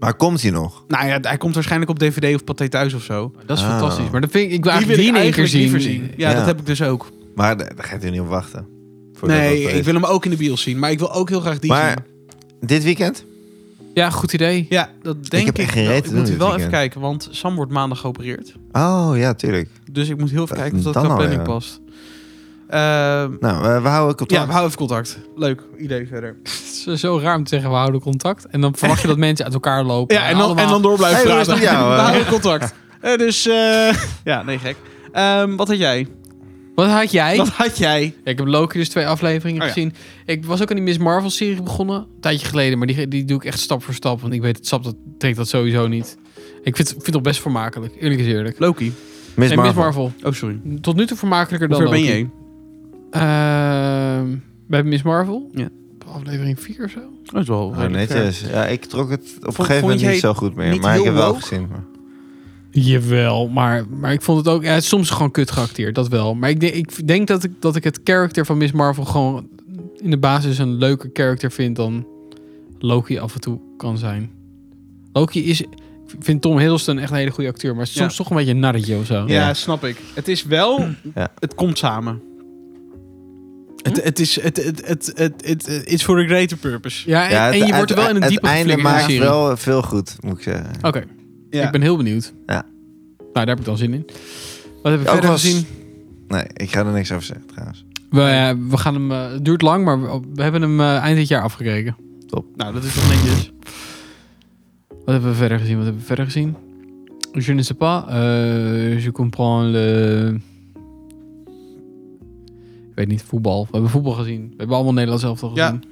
Speaker 2: Maar komt hij nog?
Speaker 1: Nou ja, hij komt waarschijnlijk op DVD of Pathé Thuis of zo.
Speaker 3: Dat is
Speaker 2: Ah.
Speaker 3: fantastisch. Maar dat vind ik, ik
Speaker 1: die
Speaker 3: wil eigenlijk die in één keer zien.
Speaker 1: liever Ja,
Speaker 2: Ja.
Speaker 1: dat heb ik dus ook.
Speaker 2: Maar daar daar gaat hij niet op wachten. Voordat
Speaker 1: Nee,
Speaker 2: dat er
Speaker 1: ik
Speaker 2: is.
Speaker 1: wil hem ook in de bios zien. Maar ik wil ook heel graag die
Speaker 2: Maar
Speaker 1: zien.
Speaker 2: dit weekend?
Speaker 3: Ja, goed idee.
Speaker 1: Ja, dat denk
Speaker 2: heb
Speaker 1: ik.
Speaker 2: echt geen reet
Speaker 1: wel.
Speaker 2: te
Speaker 1: ik
Speaker 2: doen
Speaker 1: moet
Speaker 2: dit
Speaker 1: wel even
Speaker 2: weekend.
Speaker 1: kijken, want Sam wordt maandag geopereerd.
Speaker 2: Oh, ja, tuurlijk.
Speaker 1: Dus ik moet heel even
Speaker 2: Dat-
Speaker 1: kijken of dat
Speaker 2: dan
Speaker 1: qua
Speaker 2: al,
Speaker 1: planning
Speaker 2: ja.
Speaker 1: past. Ehm,
Speaker 2: Nou, we, we houden contact.
Speaker 1: ja, we houden even contact. Leuk idee verder.
Speaker 3: Het is zo raar om te zeggen, we houden contact. En dan verwacht je dat mensen uit elkaar lopen.
Speaker 1: Ja, en dan, en
Speaker 3: allemaal-
Speaker 1: dan door blijven
Speaker 2: Hey, hoe is
Speaker 1: praten.
Speaker 2: het met jou,
Speaker 1: We
Speaker 2: eh?
Speaker 1: houden contact. Eh, dus, eh, ja, nee, gek. Ehm, wat had jij?
Speaker 3: Wat had jij?
Speaker 1: Wat had jij?
Speaker 3: Ja, ik heb Loki dus twee afleveringen
Speaker 1: Oh ja.
Speaker 3: gezien. Ik was ook aan die Miss Marvel serie begonnen. Een tijdje geleden. Maar die, die doe ik echt stap voor stap. Want ik weet, het sap dat, trekt dat sowieso niet. Ik vind, ik vind het best vermakelijk. Eerlijk is eerlijk.
Speaker 1: Loki.
Speaker 2: Miss
Speaker 3: Nee,
Speaker 2: Marvel.
Speaker 3: Miss Marvel.
Speaker 1: Oh, sorry.
Speaker 3: Tot nu toe vermakelijker dan
Speaker 1: Waar ben
Speaker 3: Loki.
Speaker 1: jij?
Speaker 3: Ehm, bij Miss Marvel.
Speaker 1: Ja.
Speaker 3: Aflevering 4 of zo.
Speaker 1: Dat is wel
Speaker 2: Oh, netjes. Ja, ik trok het op een gegeven
Speaker 1: vond
Speaker 2: moment
Speaker 1: je
Speaker 2: niet zo goed meer.
Speaker 1: niet
Speaker 2: Maar ik
Speaker 1: heel
Speaker 2: heb wel
Speaker 1: woke?
Speaker 2: gezien. maar-
Speaker 3: Jawel, maar, maar ik vond het ook... Ja, het is soms gewoon kut geacteerd, dat wel. Maar ik, denk- ik denk dat ik, dat ik het karakter van Miss Marvel gewoon... in de basis een leuker karakter vind dan Loki af en toe kan zijn. Loki is... Ik vind Tom Hiddleston echt een hele goede acteur... maar soms
Speaker 1: Ja.
Speaker 3: toch een beetje een narretje of zo.
Speaker 1: Ja,
Speaker 2: Ja.
Speaker 1: snap ik. Het is wel...
Speaker 2: Ja.
Speaker 1: Het komt samen. Hm? Het, het is het, het, het, het, het, het is for a greater purpose.
Speaker 3: Ja, en,
Speaker 2: Ja, het
Speaker 3: en je wordt er
Speaker 2: eind-
Speaker 3: wel in een diepe
Speaker 2: Het einde
Speaker 3: geflikkerd in de
Speaker 2: maakt
Speaker 3: serie.
Speaker 2: wel veel goed, moet ik zeggen.
Speaker 3: Oké, ik ben heel benieuwd.
Speaker 2: Ja.
Speaker 3: Nou, daar heb ik dan zin in. Wat heb ik
Speaker 2: Ook
Speaker 3: verder
Speaker 2: als-
Speaker 3: gezien?
Speaker 2: Nee, ik ga er niks over zeggen, trouwens.
Speaker 3: We, eh, we gaan hem, eh, het duurt lang, maar we, we hebben hem eh, eind dit jaar afgekeken.
Speaker 1: Nou, dat is toch netjes.
Speaker 3: Wat hebben we verder gezien? Wat hebben we verder gezien? Je ne sais pas. Eh, je comprends le... Ik weet niet, voetbal. We hebben voetbal gezien. We hebben allemaal Nederlands elftal
Speaker 1: Ja.
Speaker 3: gezien.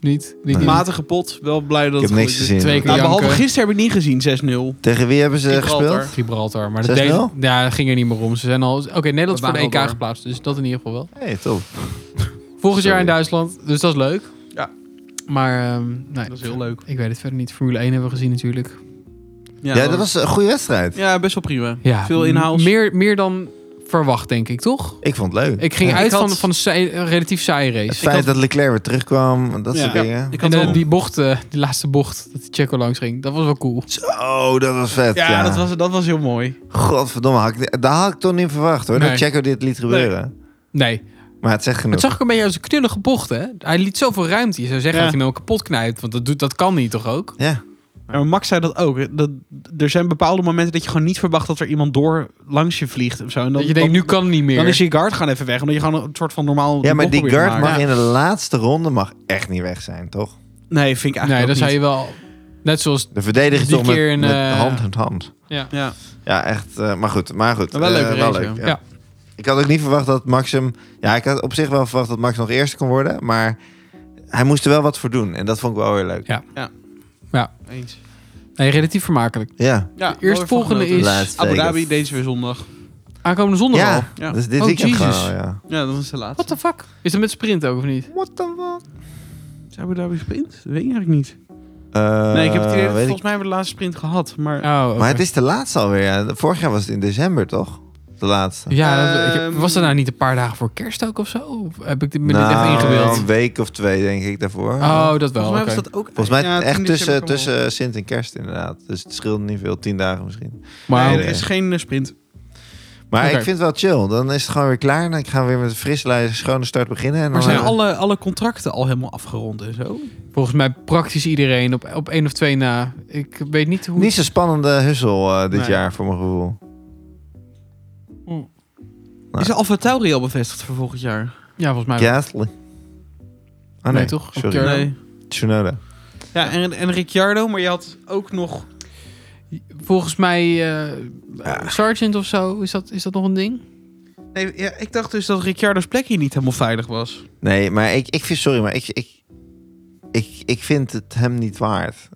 Speaker 3: Niet? niet
Speaker 2: Nee.
Speaker 1: Matige pot. Wel blij dat
Speaker 2: Ik heb
Speaker 1: het
Speaker 2: niks
Speaker 1: goed is.
Speaker 2: gezien.
Speaker 3: twee keer
Speaker 1: Nou, behalve
Speaker 3: janken.
Speaker 1: gisteren heb ik niet gezien, 6-0.
Speaker 2: Tegen wie hebben ze
Speaker 1: Gibraltar.
Speaker 2: gespeeld?
Speaker 3: Gibraltar. Maar
Speaker 2: 6-0?
Speaker 3: dat deed- ja, dat ging er niet meer om. Ze zijn al... Oké, Nederland is
Speaker 1: We
Speaker 3: voor de
Speaker 1: waren
Speaker 3: EK
Speaker 1: al door.
Speaker 3: geplaatst. Dus dat in ieder geval wel.
Speaker 2: hey, top.
Speaker 3: Volgend
Speaker 2: Sorry.
Speaker 3: jaar in Duitsland, dus dat is leuk.
Speaker 1: Ja.
Speaker 3: Maar ehm, nee,
Speaker 1: Dat is heel leuk.
Speaker 3: Ik weet het verder niet. Formule 1 hebben we gezien natuurlijk.
Speaker 2: Ja, dat was een goede wedstrijd.
Speaker 1: Ja, best wel prima.
Speaker 3: Ja,
Speaker 1: Veel inhoud.
Speaker 3: m- Meer, meer dan verwacht, denk ik, toch?
Speaker 2: Ik vond het leuk.
Speaker 3: Ik ging
Speaker 1: Ja, ik
Speaker 3: uit van,
Speaker 1: had-
Speaker 3: van een, saai- een relatief saaie race.
Speaker 2: het feit
Speaker 3: Ik had-
Speaker 2: dat Leclerc weer terugkwam, dat
Speaker 1: Ja.
Speaker 2: soort
Speaker 1: Ja.
Speaker 2: dingen.
Speaker 1: Ik
Speaker 3: en
Speaker 1: had
Speaker 3: eh,
Speaker 1: wel-
Speaker 3: die bocht, eh, die laatste bocht, dat die Checo langs ging, dat was wel cool.
Speaker 2: Zo, dat was vet.
Speaker 1: ja, Dat, was, dat was heel mooi.
Speaker 2: Godverdomme, had ik, daar had ik toch niet verwacht hoor.
Speaker 3: Nee.
Speaker 2: Dat Checo dit liet gebeuren.
Speaker 3: Nee,
Speaker 2: Maar het zegt
Speaker 3: maar
Speaker 2: genoeg.
Speaker 3: het zag ik een beetje als een knullige bocht, hè? Hij liet zoveel ruimte. Je zou zeggen
Speaker 1: Ja.
Speaker 3: dat hij hem ook kapot knijpt, want dat, doet, dat kan niet toch ook?
Speaker 2: Ja,
Speaker 1: Maar Max zei dat ook. hè, Dat, er zijn bepaalde momenten dat je gewoon niet verwacht dat er iemand door langs je vliegt. Of zo. En dan,
Speaker 3: Dat je denkt,
Speaker 1: dan,
Speaker 3: nu kan het niet meer.
Speaker 1: dan is je guard gewoon even weg. Omdat je gewoon een soort van normaal...
Speaker 2: ja maar die
Speaker 1: bocht probeert te
Speaker 2: guard
Speaker 1: maken.
Speaker 2: mag in de laatste ronde mag echt niet weg zijn, toch?
Speaker 1: Nee, vind ik
Speaker 3: nee,
Speaker 1: eigenlijk
Speaker 3: dan
Speaker 1: ook
Speaker 3: zou je wel... Net zoals...
Speaker 2: De verdediging
Speaker 3: Die
Speaker 2: toch met,
Speaker 3: keer een,
Speaker 2: met
Speaker 3: eh,
Speaker 2: hand in hand.
Speaker 3: Ja.
Speaker 1: niet. Ja.
Speaker 2: Ja, echt. eh, maar goed, maar goed.
Speaker 1: Maar wel een
Speaker 2: Eh,
Speaker 1: leuke race,
Speaker 2: leuk,
Speaker 1: ja.
Speaker 3: Ja.
Speaker 2: Ik had ook niet verwacht dat Max hem... Ja, ik had op zich wel verwacht dat Max nog eerste kon worden. Maar hij moest er wel wat voor doen. En dat vond ik wel weer leuk.
Speaker 3: Ja.
Speaker 1: Eens.
Speaker 3: Nee, relatief vermakelijk.
Speaker 2: Ja,
Speaker 1: Ja,
Speaker 3: Eerstvolgende
Speaker 1: wel weer van genoten.
Speaker 3: is
Speaker 2: Laatst
Speaker 1: Abu
Speaker 2: Vegas.
Speaker 1: Dhabi, deze weer zondag.
Speaker 3: aankomende zondag al.
Speaker 2: ja,
Speaker 1: Ja.
Speaker 2: dus dit
Speaker 3: Oh,
Speaker 2: weekend
Speaker 3: Jesus.
Speaker 2: gewoon, ja.
Speaker 1: Ja, dat is de laatste.
Speaker 3: What the fuck? Is dat met sprint ook of niet?
Speaker 2: What the fuck?
Speaker 1: Is Abu Dhabi sprint? Dat weet ik eigenlijk niet.
Speaker 2: Eh,
Speaker 1: Nee, ik heb het idee dat we volgens mij hebben we de laatste sprint gehad. Maar
Speaker 3: Oh, oké.
Speaker 2: Maar het is de laatste alweer. Ja. Vorig jaar was het in december, toch? De laatste.
Speaker 3: Ja, dat- ik heb-
Speaker 1: Ehm,
Speaker 3: was dat nou niet een paar dagen voor kerst ook of zo? Of heb ik dit- me dit
Speaker 2: Nou,
Speaker 3: echt ingebeeld?
Speaker 2: een week of twee, denk ik, daarvoor.
Speaker 3: Oh, dat wel.
Speaker 1: volgens mij
Speaker 3: oké.
Speaker 1: was dat ook...
Speaker 2: Volgens mij
Speaker 1: ja,
Speaker 2: echt
Speaker 1: 10
Speaker 2: tussen,
Speaker 1: december kwam wel.
Speaker 2: tussen Sint en Kerst, inderdaad. Dus het scheelde niet veel. Tien dagen misschien.
Speaker 3: Maar
Speaker 1: Nee,
Speaker 2: oké.
Speaker 1: er is geen eh, sprint.
Speaker 2: Maar
Speaker 3: Oké.
Speaker 2: ik vind het wel chill. Dan is het gewoon weer klaar. Dan gaan we weer met een frisse lijst, schone start beginnen. En
Speaker 1: Maar
Speaker 2: dan eh,
Speaker 1: zijn
Speaker 2: hebben-
Speaker 1: alle, alle contracten al helemaal afgerond en zo?
Speaker 3: volgens mij praktisch iedereen op, op één of twee na. Ik weet niet hoe...
Speaker 2: Niet zo'n spannende hussel eh, dit
Speaker 1: Nee.
Speaker 2: jaar, voor mijn gevoel. Nee.
Speaker 1: Is Alfa Tauri al bevestigd voor volgend jaar?
Speaker 3: Ja, volgens mij wel.
Speaker 2: Gasly. Ah nee,
Speaker 3: Nee, toch?
Speaker 2: Sorry.
Speaker 3: Ricciardo?
Speaker 2: Tsunoda.
Speaker 1: Ja, en, en Ricciardo, maar je had ook nog...
Speaker 3: Volgens mij eh, Sergeant of zo. Is dat, is dat nog een ding?
Speaker 1: Nee, ja, ik dacht dus dat Ricciardo's plek hier niet helemaal veilig was.
Speaker 2: Nee, maar ik, ik vind... Sorry, maar ik, ik, ik, ik vind het hem niet waard.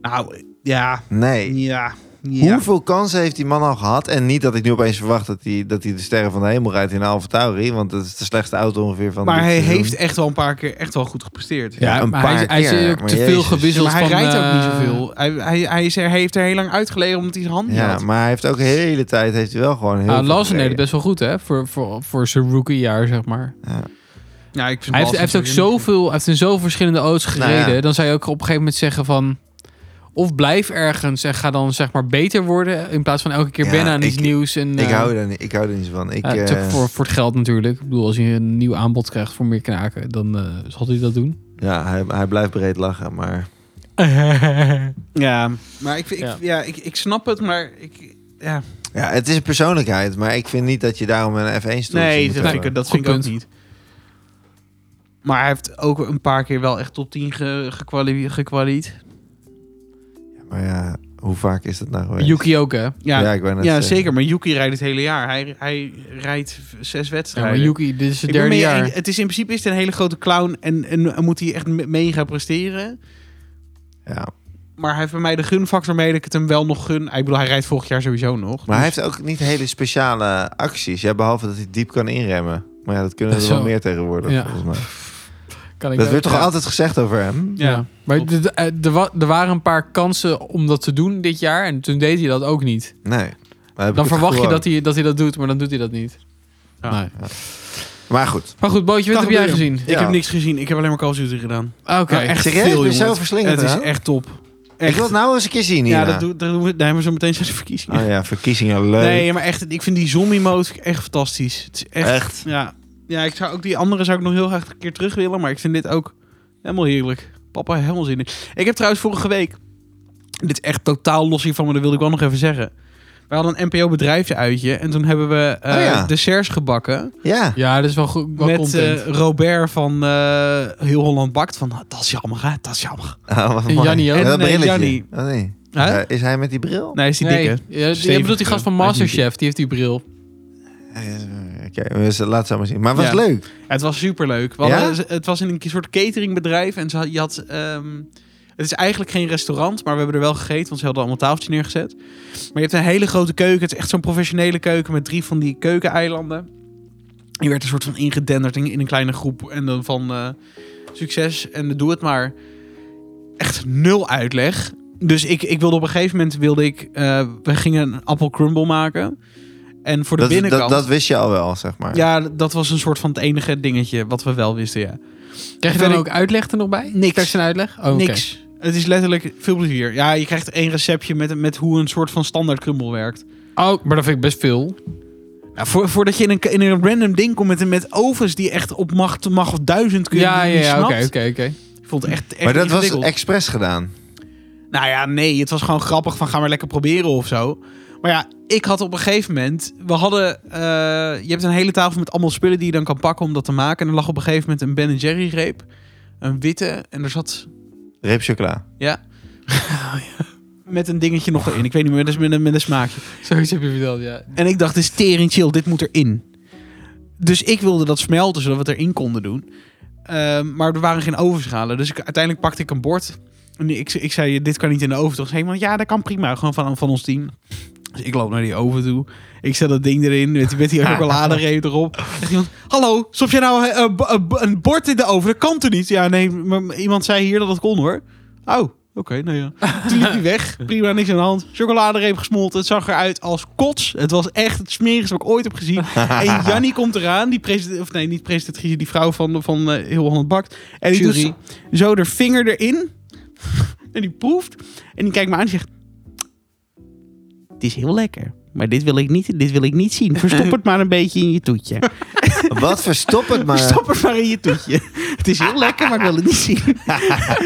Speaker 1: Nou, ja.
Speaker 2: Nee.
Speaker 1: Ja. ja.
Speaker 2: Hoeveel kansen heeft die man al gehad? En niet dat ik nu opeens verwacht dat hij, dat hij de sterren van de hemel rijdt in de Alfa Tauri. Want dat is de slechtste auto ongeveer van
Speaker 1: Maar
Speaker 2: dit
Speaker 1: hij
Speaker 2: seizoen.
Speaker 1: heeft echt wel een paar keer echt wel goed gepresteerd.
Speaker 2: Ja, dus een
Speaker 3: maar
Speaker 2: paar
Speaker 3: hij, is- hij
Speaker 2: keer,
Speaker 3: is ook
Speaker 2: maar
Speaker 3: te veel
Speaker 2: jezus.
Speaker 1: Ja,
Speaker 3: gewisseld
Speaker 1: maar hij
Speaker 3: van,
Speaker 1: rijdt ook niet
Speaker 3: eh,
Speaker 1: zoveel. Hij, hij, hij, is er, hij heeft er heel lang uitgelegen omdat hij zijn hand niet
Speaker 2: Ja,
Speaker 1: had.
Speaker 2: maar hij heeft ook de hele tijd... Heeft hij wel gewoon heel
Speaker 3: Ah,
Speaker 2: veel
Speaker 3: Lawson deed het
Speaker 2: gereden.
Speaker 3: best wel goed, hè? Voor, voor, voor zijn rookiejaar, zeg maar.
Speaker 1: Ja, ik vind
Speaker 3: Hij heeft, hij heeft ook zoveel, hij heeft in zoveel verschillende auto's
Speaker 2: Nou ja.
Speaker 3: gereden. Dan zou je ook op een gegeven moment zeggen van... Of blijf ergens en ga dan zeg maar beter worden. In plaats van elke keer
Speaker 2: Ja,
Speaker 3: wennen aan
Speaker 2: ik-
Speaker 3: iets nieuws. En,
Speaker 2: Ik
Speaker 3: eh,
Speaker 2: hou, daar niet, ik hou er niet zo van. Ik,
Speaker 3: ja, het is ook
Speaker 2: eh,
Speaker 3: voor, voor het geld natuurlijk. Ik bedoel, als je een nieuw aanbod krijgt voor meer knaken, dan eh, zal hij dat doen.
Speaker 2: Ja, hij, hij blijft breed lachen, maar...
Speaker 1: Ja, maar ik, vind- ik,
Speaker 3: Ja.
Speaker 1: ja. ik, ik snap het, maar ik... Ja.
Speaker 2: Ja, het is een persoonlijkheid, maar ik vind niet dat je daarom een F1-stoel
Speaker 1: Nee, dat vind ik, dat
Speaker 3: Goed
Speaker 1: vind ik ook
Speaker 3: punt.
Speaker 1: niet. Maar hij heeft ook een paar keer wel echt top 10 ge, gekwali- gekwalied.
Speaker 2: Maar ja, hoe vaak is dat nou geweest?
Speaker 3: Yuki ook, hè?
Speaker 1: Ja,
Speaker 2: ja,
Speaker 1: ja,
Speaker 2: ik ben het zeggen.
Speaker 1: zeker. Maar Yuki rijdt het hele jaar. Hij, hij rijdt v- zes
Speaker 3: Ja, maar
Speaker 1: wedstrijden.
Speaker 3: Yuki, dit is het
Speaker 1: Ik ben
Speaker 3: derde
Speaker 1: mee-
Speaker 3: jaar.
Speaker 1: Het is in principe is het een hele grote clown en, en, en moet hij echt me- mega presteren.
Speaker 2: Ja.
Speaker 1: Maar hij heeft bij mij de gunfactor mee dat ik het hem wel nog gun. Ah, Ik bedoel, hij rijdt volgend jaar sowieso nog.
Speaker 2: Maar hij
Speaker 1: Dus-
Speaker 2: heeft ook niet hele speciale acties. Ja, behalve dat hij diep kan inremmen. Maar ja, dat kunnen er
Speaker 3: Zo.
Speaker 2: wel meer tegenwoordig,
Speaker 3: Ja.
Speaker 2: volgens mij.
Speaker 3: Kan ik
Speaker 2: Dat
Speaker 3: ook-
Speaker 2: werd toch
Speaker 3: ja.
Speaker 2: altijd gezegd over hem?
Speaker 3: Ja.
Speaker 1: Ja.
Speaker 3: Maar
Speaker 1: Klopt.
Speaker 3: d- d- eh, er wa- er waren een paar kansen om dat te doen dit jaar. En toen deed hij dat ook niet.
Speaker 2: Nee. Maar heb
Speaker 3: Dan
Speaker 2: ik het
Speaker 3: verwacht je
Speaker 2: gevoel
Speaker 3: dat hij, dat hij dat doet, maar dan doet hij dat niet.
Speaker 1: Ja.
Speaker 3: Nee.
Speaker 2: ook. Maar goed.
Speaker 3: Maar goed, Bootje, wat
Speaker 1: Kan
Speaker 3: heb jij
Speaker 1: gebeuren.
Speaker 3: gezien? Ah,
Speaker 1: Ik
Speaker 2: Ja.
Speaker 1: heb niks gezien. Ik heb alleen maar Call of Duty gedaan.
Speaker 3: Oké.
Speaker 1: Nou, echt
Speaker 2: Serieus?
Speaker 1: veel,
Speaker 2: Ben je
Speaker 1: jongen.
Speaker 2: zo verslingerd
Speaker 1: Het is
Speaker 2: eraan?
Speaker 1: echt top.
Speaker 2: Ik wil het nou eens een keer zien,
Speaker 1: Ja,
Speaker 2: Nina.
Speaker 1: dat doe, daar doen we, daar hebben we zo meteen zijn de verkiezingen.
Speaker 2: Oh ja, verkiezingen leuk.
Speaker 1: Nee, maar echt, ik vind die zombie mode echt fantastisch. Het is echt,
Speaker 2: Echt?
Speaker 1: Ja. ja, ik zou ook die andere zou ik nog heel graag een keer terug willen, maar ik vind dit ook helemaal heerlijk. Papa, helemaal zin in. Ik heb trouwens vorige week, dit is echt totaal los hiervan, maar dat wilde ik wel nog even zeggen. We hadden een NPO bedrijfje uitje en toen hebben we eh
Speaker 2: Oh ja.
Speaker 1: desserts gebakken
Speaker 2: Ja.
Speaker 3: Ja, dat is wel goed. Wel
Speaker 1: met
Speaker 3: content.
Speaker 1: eh, Robert van eh, Heel Holland Bakt. Van, dat is jammer, hè? dat is jammer.
Speaker 2: Ah, wat
Speaker 3: En
Speaker 2: mooi.
Speaker 3: Jannie ook.
Speaker 2: En dat
Speaker 1: Nee,
Speaker 2: brilletje.
Speaker 1: Jannie.
Speaker 2: Oh, nee.
Speaker 1: Hè?
Speaker 2: Eh, is hij met die bril?
Speaker 1: Nee, is die
Speaker 3: nee,
Speaker 1: dikke.
Speaker 3: ja, die,
Speaker 1: Stevige.
Speaker 3: je bedoelt die gast van
Speaker 1: Hij is niet
Speaker 3: Masterchef, die heeft die bril.
Speaker 2: Eh, Oké, dus laat het zo maar zien. Maar het was
Speaker 1: Ja.
Speaker 2: leuk.
Speaker 1: Het was superleuk. We
Speaker 2: Ja?
Speaker 1: hadden- Het was in een soort cateringbedrijf. En ze had- je had... ehm, het is eigenlijk geen restaurant, maar we hebben er wel gegeten. Want ze hadden allemaal tafeltje neergezet. Maar je hebt een hele grote keuken. Het is echt zo'n professionele keuken met drie van die keukeneilanden. Je werd een soort van ingedenderd in, in een kleine groep. En dan van eh, succes en doe het maar. Echt nul uitleg. Dus ik, ik wilde op een gegeven moment... Wilde ik, eh, we gingen een appel crumble maken. En voor de
Speaker 2: Dat,
Speaker 1: binnenkant...
Speaker 2: dat, dat wist je al wel, zeg maar.
Speaker 1: Ja, dat was een soort van het enige dingetje wat we wel wisten, ja.
Speaker 3: Krijg je
Speaker 1: Verder-
Speaker 3: dan ook uitleg er nog bij?
Speaker 1: Niks.
Speaker 3: Krijg je een uitleg? Oh, oké.
Speaker 1: Niks. Het is letterlijk veel plezier. Ja, je krijgt één receptje met, met hoe een soort van standaard crumble werkt.
Speaker 3: Oh, maar dat vind ik best veel.
Speaker 1: Nou, voor, voordat je in een, in een random ding komt met, met ovens die echt op macht, macht of duizend kunnen.
Speaker 3: Ja,
Speaker 1: die je
Speaker 3: ja, ja,
Speaker 1: snapt.
Speaker 3: oké, oké, oké.
Speaker 1: Ik vond het echt, echt
Speaker 2: maar dat was
Speaker 1: ingewikkeld.
Speaker 2: expres gedaan.
Speaker 1: Nou ja, nee, het was gewoon grappig van gaan we lekker proberen of zo. Maar ja, ik had op een gegeven moment... We hadden... eh, je hebt een hele tafel met allemaal spullen die je dan kan pakken om dat te maken. En er lag op een gegeven moment een Ben Jerry reep. Een witte. En er zat
Speaker 2: Reep chocola.
Speaker 1: Ja. Met een dingetje nog erin. Ik weet niet meer, dat is met een, met een smaakje.
Speaker 3: Zoiets heb je verteld, ja.
Speaker 1: En ik dacht, dit is tering chill, dit moet erin. Dus ik wilde dat smelten, zodat we het erin konden doen. Ehm, maar er waren geen ovenschalen. Dus ik, uiteindelijk pakte ik een bord. En ik, ik zei, dit kan niet in de oven. Toen zei iemand, ja, dat kan prima. Gewoon van, van ons team. Dus ik loop naar die oven toe. Ik zet dat ding erin met, met die chocoladereep erop. Zegt iemand, hallo, stop je nou eh, eh, bo- eh, bo- een bord in de oven? Dat kan toch niet? Ja, nee, maar iemand zei hier dat het kon hoor. Oh, oké, nou ja. Toen liep hij weg. Prima, niks aan de hand. Chocoladereep gesmolten. Het zag eruit als kots. Het was echt het smerigste wat ik ooit heb gezien. En Jannie komt eraan. Die president, of nee, niet presentatrice, die vrouw van, van eh, Heel Holland Bakt. En die
Speaker 3: Jury.
Speaker 1: doet zo haar vinger erin. En die proeft. En die kijkt me aan en zegt... Het is heel lekker. Maar dit wil ik niet, dit wil ik niet zien. Verstop het maar een beetje in je toetje.
Speaker 2: Wat verstop het maar.
Speaker 1: Stop het maar in je toetje. eh, Het is heel lekker, maar ik wil het niet zien. dus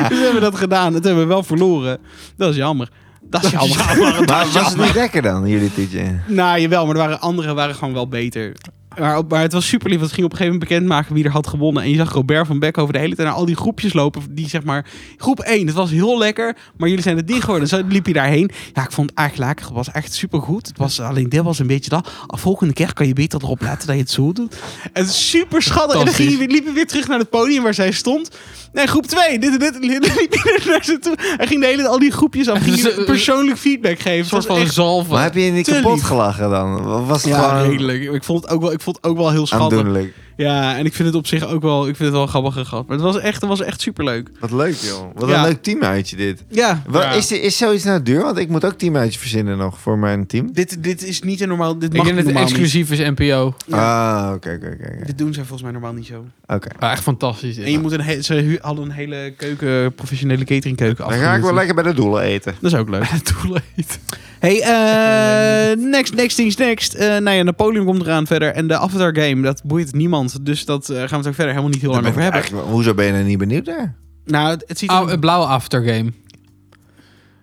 Speaker 1: we hebben dat gedaan. Dat hebben we wel verloren. Dat is jammer. Dat is jammer.
Speaker 2: Maar was het niet lekker dan, jullie tietje?
Speaker 1: Nou, jawel, maar er waren, anderen waren gewoon wel beter. Maar, op- maar het was super lief. Want het ging op een gegeven moment bekendmaken wie er had gewonnen. En je zag Robert van Beck over de hele tijd naar al die groepjes lopen. Die zeg maar, groep 1, dat was heel lekker. Maar jullie zijn het niet geworden. Zo liep je daarheen. Ja, ik vond het eigenlijk lekker. Het was echt supergoed. Het was alleen dit was een beetje dat. Volgende keer kan je beter erop letten dat je het zo doet. En super schattig. En dan ging je, weer- liep je weer terug naar het podium waar zij stond. Nee, groep 2. Dit en dit. en dit. En liep je naar ze toe. En ging de hele al die groepjes af. Ging
Speaker 3: Dus,
Speaker 1: je
Speaker 3: eh,
Speaker 1: persoonlijk feedback geven.
Speaker 3: Een
Speaker 1: Het
Speaker 3: soort
Speaker 1: was
Speaker 3: van
Speaker 1: echt
Speaker 3: zalven.
Speaker 2: Maar heb je je niet
Speaker 1: Te
Speaker 2: kapot
Speaker 1: lief.
Speaker 2: gelachen dan? Was het
Speaker 1: ja,
Speaker 2: gewoon
Speaker 1: redelijk. Ik vond het ook wel, ik vond het ook wel heel schattig.
Speaker 2: aandoenlijk?
Speaker 1: Ja, en ik vind het op zich ook wel, ik vind het wel een grappige grap. Maar het was echt, het was echt superleuk.
Speaker 2: Wat leuk, joh. Wat
Speaker 1: Ja.
Speaker 2: een leuk teamuitje dit.
Speaker 1: Ja.
Speaker 2: Wat, is, dit- is zoiets nou duur? Want ik moet ook teamuitje verzinnen nog voor mijn team.
Speaker 1: Dit, dit is niet een normaal, dit
Speaker 3: Ik
Speaker 1: mag
Speaker 3: denk dat het
Speaker 1: normaal
Speaker 3: exclusief is NPO.
Speaker 2: Ah, oké, oké, oké,
Speaker 1: niet.
Speaker 2: oké.
Speaker 1: Dit doen zij volgens mij normaal niet zo.
Speaker 2: Oké.
Speaker 3: Ah, echt fantastisch.
Speaker 1: En je moet een he- ze hu- hadden een hele keuken, professionele cateringkeuken af.
Speaker 2: Dan ga ik wel lekker bij de doelen eten.
Speaker 1: Dat is ook leuk.
Speaker 3: Toeleid.
Speaker 1: Hey, eh, next, next things next. Eh nou ja, Napoleon komt eraan verder. En de Avatar Game, dat boeit niemand. Dus dat eh, gaan we het ook verder helemaal niet heel
Speaker 2: Dan
Speaker 1: lang
Speaker 2: ben
Speaker 1: over hebben.
Speaker 2: ik eigenlijk wel- Hoezo ben je nou niet benieuwd daar?
Speaker 1: Nou, het, het ziet er-
Speaker 3: Oh, een blauwe aftergame.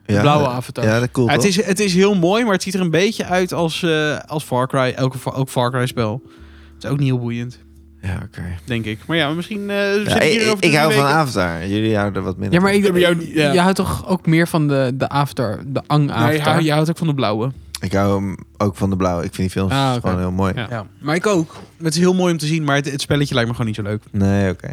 Speaker 2: Ja,
Speaker 3: blauwe
Speaker 2: dat-
Speaker 3: avatar.
Speaker 2: Ja, dat cool,
Speaker 1: Ja, het,
Speaker 2: toch?
Speaker 1: is, het is heel mooi, maar het ziet er een beetje uit als, eh, als Far Cry. Elke, Fa- ook Far Cry spel. Het is ook niet heel boeiend,
Speaker 2: Ja, oké.
Speaker 1: denk ik. Maar ja, misschien... eh
Speaker 2: Ja,
Speaker 1: zit
Speaker 2: ik
Speaker 1: hier
Speaker 2: ik,
Speaker 1: over
Speaker 2: ik
Speaker 1: drie
Speaker 2: hou van
Speaker 1: weken-
Speaker 2: avatar. Jullie houden er wat minder
Speaker 3: Ja, maar ik,
Speaker 1: Ja, maar jou- ja.
Speaker 3: je houdt toch ook meer van de, de after, de ang
Speaker 1: Nee, je
Speaker 3: after?
Speaker 1: hou- je houdt ook van de blauwe.
Speaker 2: van. Ik hou hem ook van de blauwe. Ik vind die films
Speaker 3: Ah, oké.
Speaker 2: gewoon heel mooi.
Speaker 3: Ja.
Speaker 1: Maar ik ook. Het is heel mooi om te zien, maar het, het spelletje lijkt me gewoon niet zo leuk.
Speaker 2: Nee, oké.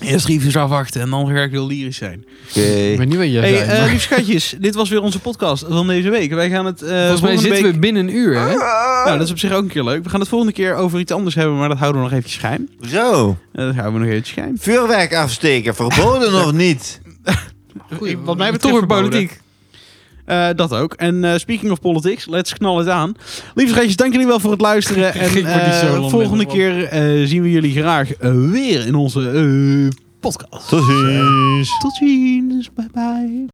Speaker 1: Eerst reviews afwachten en dan weer heel lyrisch zijn.
Speaker 2: Oké.
Speaker 3: Ik weet niet wat je
Speaker 1: hey,
Speaker 3: zei. maar-
Speaker 1: eh, lieve schatjes, dit was weer onze podcast van deze week. Wij gaan het eh
Speaker 3: Volgens mij
Speaker 1: volgende
Speaker 3: zitten
Speaker 1: week...
Speaker 3: we binnen een uur, hè?
Speaker 2: Ah!
Speaker 1: Nou, dat is op zich ook een keer leuk. We gaan het volgende keer over iets anders hebben, maar dat houden we nog eventjes geheim.
Speaker 2: Zo.
Speaker 1: Eh, dat houden we nog eventjes geheim.
Speaker 2: Vuurwerk afsteken, verboden of niet?
Speaker 3: Ah,
Speaker 1: Goeie, wat mij
Speaker 3: Toch
Speaker 1: betreft
Speaker 3: weer
Speaker 1: verboden.
Speaker 3: politiek.
Speaker 1: Eh, dat ook. En eh, speaking of politics, let's knal het aan. Lieve schatjes, dank jullie wel voor het luisteren. En
Speaker 3: Ik word niet zo
Speaker 1: eh,
Speaker 3: lang
Speaker 1: volgende
Speaker 3: minder,
Speaker 1: keer eh, zien we jullie graag eh, weer in onze eh, podcast.
Speaker 2: Tot ziens.
Speaker 1: Tot ziens. Bye bye.